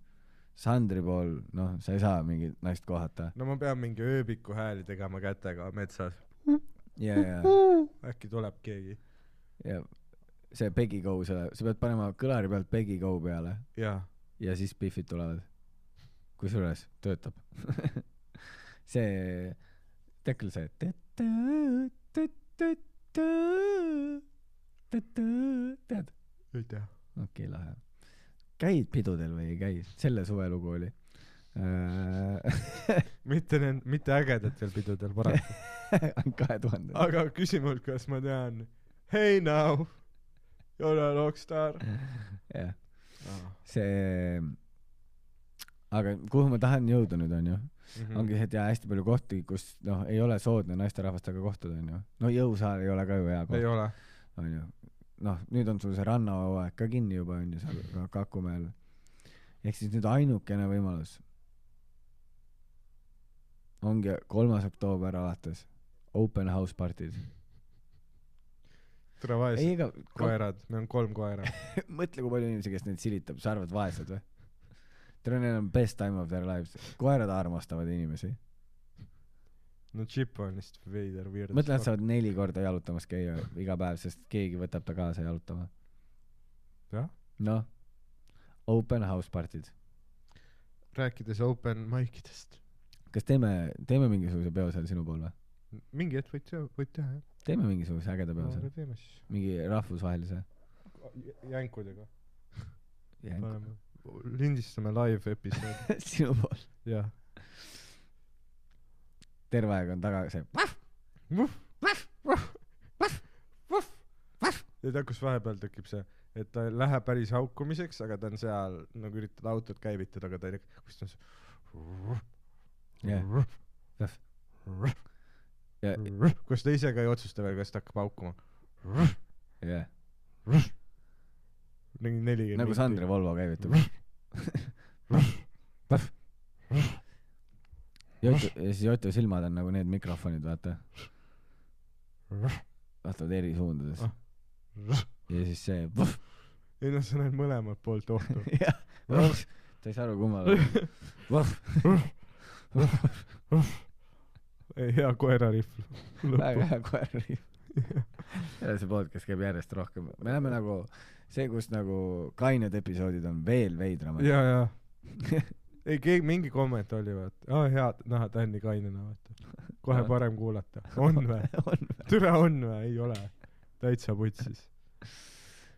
Speaker 2: Sandri pool , noh , sa ei saa mingit naist kohata .
Speaker 1: no ma pean mingi ööbiku hääli tegema kätega metsas ,
Speaker 2: ja , ja ,
Speaker 1: äkki tuleb keegi .
Speaker 2: ja see Peggy Go selle , sa pead panema kõlari pealt Peggy Go peale
Speaker 1: jaa .
Speaker 2: ja siis Biffid tulevad . kusjuures töötab . see , tead küll see . tead ?
Speaker 1: ei tea .
Speaker 2: okei okay, , lahe . käid pidudel või ei käi ? selle suve lugu oli . Äh,
Speaker 1: mitte nend- , mitte ägedatel pidudel paraku .
Speaker 2: kahe tuhande .
Speaker 1: aga küsi mult , kas ma tean Hey now , you are a rockstar
Speaker 2: jah ,
Speaker 1: ah. .
Speaker 2: see , aga kuhu ma tahan jõuda nüüd , onju
Speaker 1: Mm -hmm.
Speaker 2: ongi see , et jaa , hästi palju kohti , kus noh , ei ole soodne naisterahvastega kohtuda , onju . no jõusaal ei ole ka ju hea
Speaker 1: ei
Speaker 2: koht ,
Speaker 1: ole .
Speaker 2: onju . noh , nüüd on sul see rannahooaeg ka kinni juba , onju , seal Ka- Kakumäel . ehk siis nüüd ainukene võimalus ongi kolmas oktoober alates , open house party'd .
Speaker 1: tere vaesed
Speaker 2: ei , ega
Speaker 1: koerad , meil on kolm koera .
Speaker 2: mõtle , kui palju inimesi , kes neid silitab , sa arvad vaesed või ? Teil on enam best time of their lives , koerad armastavad inimesi .
Speaker 1: no Chip on lihtsalt veider , weird .
Speaker 2: mõtle , nad saavad neli korda jalutamas käia iga päev , sest keegi võtab ta kaasa jalutama .
Speaker 1: Jah.
Speaker 2: noh , open house party'd .
Speaker 1: rääkides open mic idest ,
Speaker 2: kas teeme , teeme mingisuguse peo seal sinu pool või ?
Speaker 1: mingi hetk võid , võid teha jah .
Speaker 2: teeme mingisuguse ägeda peo seal ,
Speaker 1: teeme siis .
Speaker 2: mingi rahvusvahelise .
Speaker 1: jänkudega . paneme , lindistame live episoodi .
Speaker 2: sinu pool .
Speaker 1: jah .
Speaker 2: terve aeg on taga see .
Speaker 1: ja tead , kus vahepeal tekib see , et ta ei lähe päris haukumiseks , aga ta on seal nagu üritad autot käivitada , aga ta ei , kus ta on see .
Speaker 2: Jah. Jah. Ja- .
Speaker 1: kus ta ise ka ei otsusta veel , kas ta hakkab haukuma .
Speaker 2: jah ,
Speaker 1: mingi neli .
Speaker 2: nagu Sandri . Volvo käivitub . Jotu , ja siis Jotu silmad on nagu need mikrofonid , vaata , vaatavad eri suundades
Speaker 1: Ah.
Speaker 2: ja siis see
Speaker 1: ei noh , sa näed mõlemalt poolt ohtu .
Speaker 2: jah , ta ei saa aru , kummal .
Speaker 1: Ei, hea koerarihv
Speaker 2: väga
Speaker 1: lõpus .
Speaker 2: hea koerariiv . ja see podcast käib järjest rohkem , me läheme nagu see , kus nagu kained episoodid on veel veidramad .
Speaker 1: ja , ja . ei , keegi , mingi komment oli , vaata . aa , hea näha , ta on nii kainena , vaata . kohe parem kuulata . on või ?
Speaker 2: on .
Speaker 1: türa on või ? ei ole . täitsa putsis .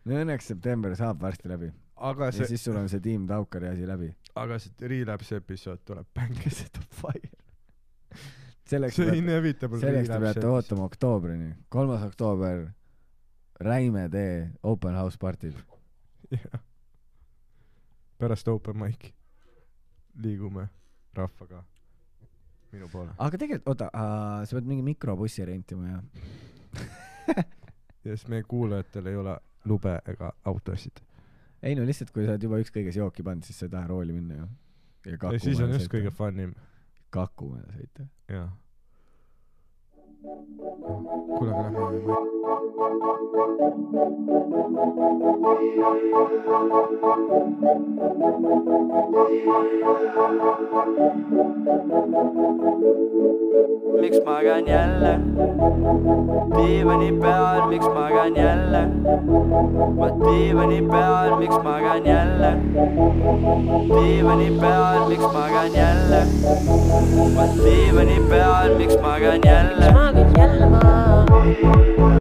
Speaker 2: no õnneks september saab varsti läbi
Speaker 1: aga
Speaker 2: ja
Speaker 1: see ,
Speaker 2: siis sul on see Team Taukari asi läbi .
Speaker 1: aga see Relapse episood tuleb bängis .
Speaker 2: selleks
Speaker 1: see
Speaker 2: peate ,
Speaker 1: inevitable
Speaker 2: selleks te peate
Speaker 1: episood.
Speaker 2: ootama oktoobrini , kolmas oktoober , Räime tee open house party'l .
Speaker 1: Jah. pärast open mic'i liigume rahvaga minu poole
Speaker 2: aga tegelikult , oota , sa pead mingi mikrobussi rentima ja
Speaker 1: ja siis meie kuulajatel ei ole lube ega autosid
Speaker 2: ei no lihtsalt , kui sa oled juba ükskõiges jooki pannud , siis sa ei taha rooli minna ju .
Speaker 1: ei , siis on just kõige . funnim .
Speaker 2: Kakumäele sõita .
Speaker 1: jah . kuule , aga lähme .
Speaker 3: miks magan jälle ? diivani peal , miks magan jälle ? ma diivani peal , miks magan jälle ? diivani peal , miks magan jälle ? ma diivani peal , miks magan jälle ?
Speaker 4: Schmagen Jelma.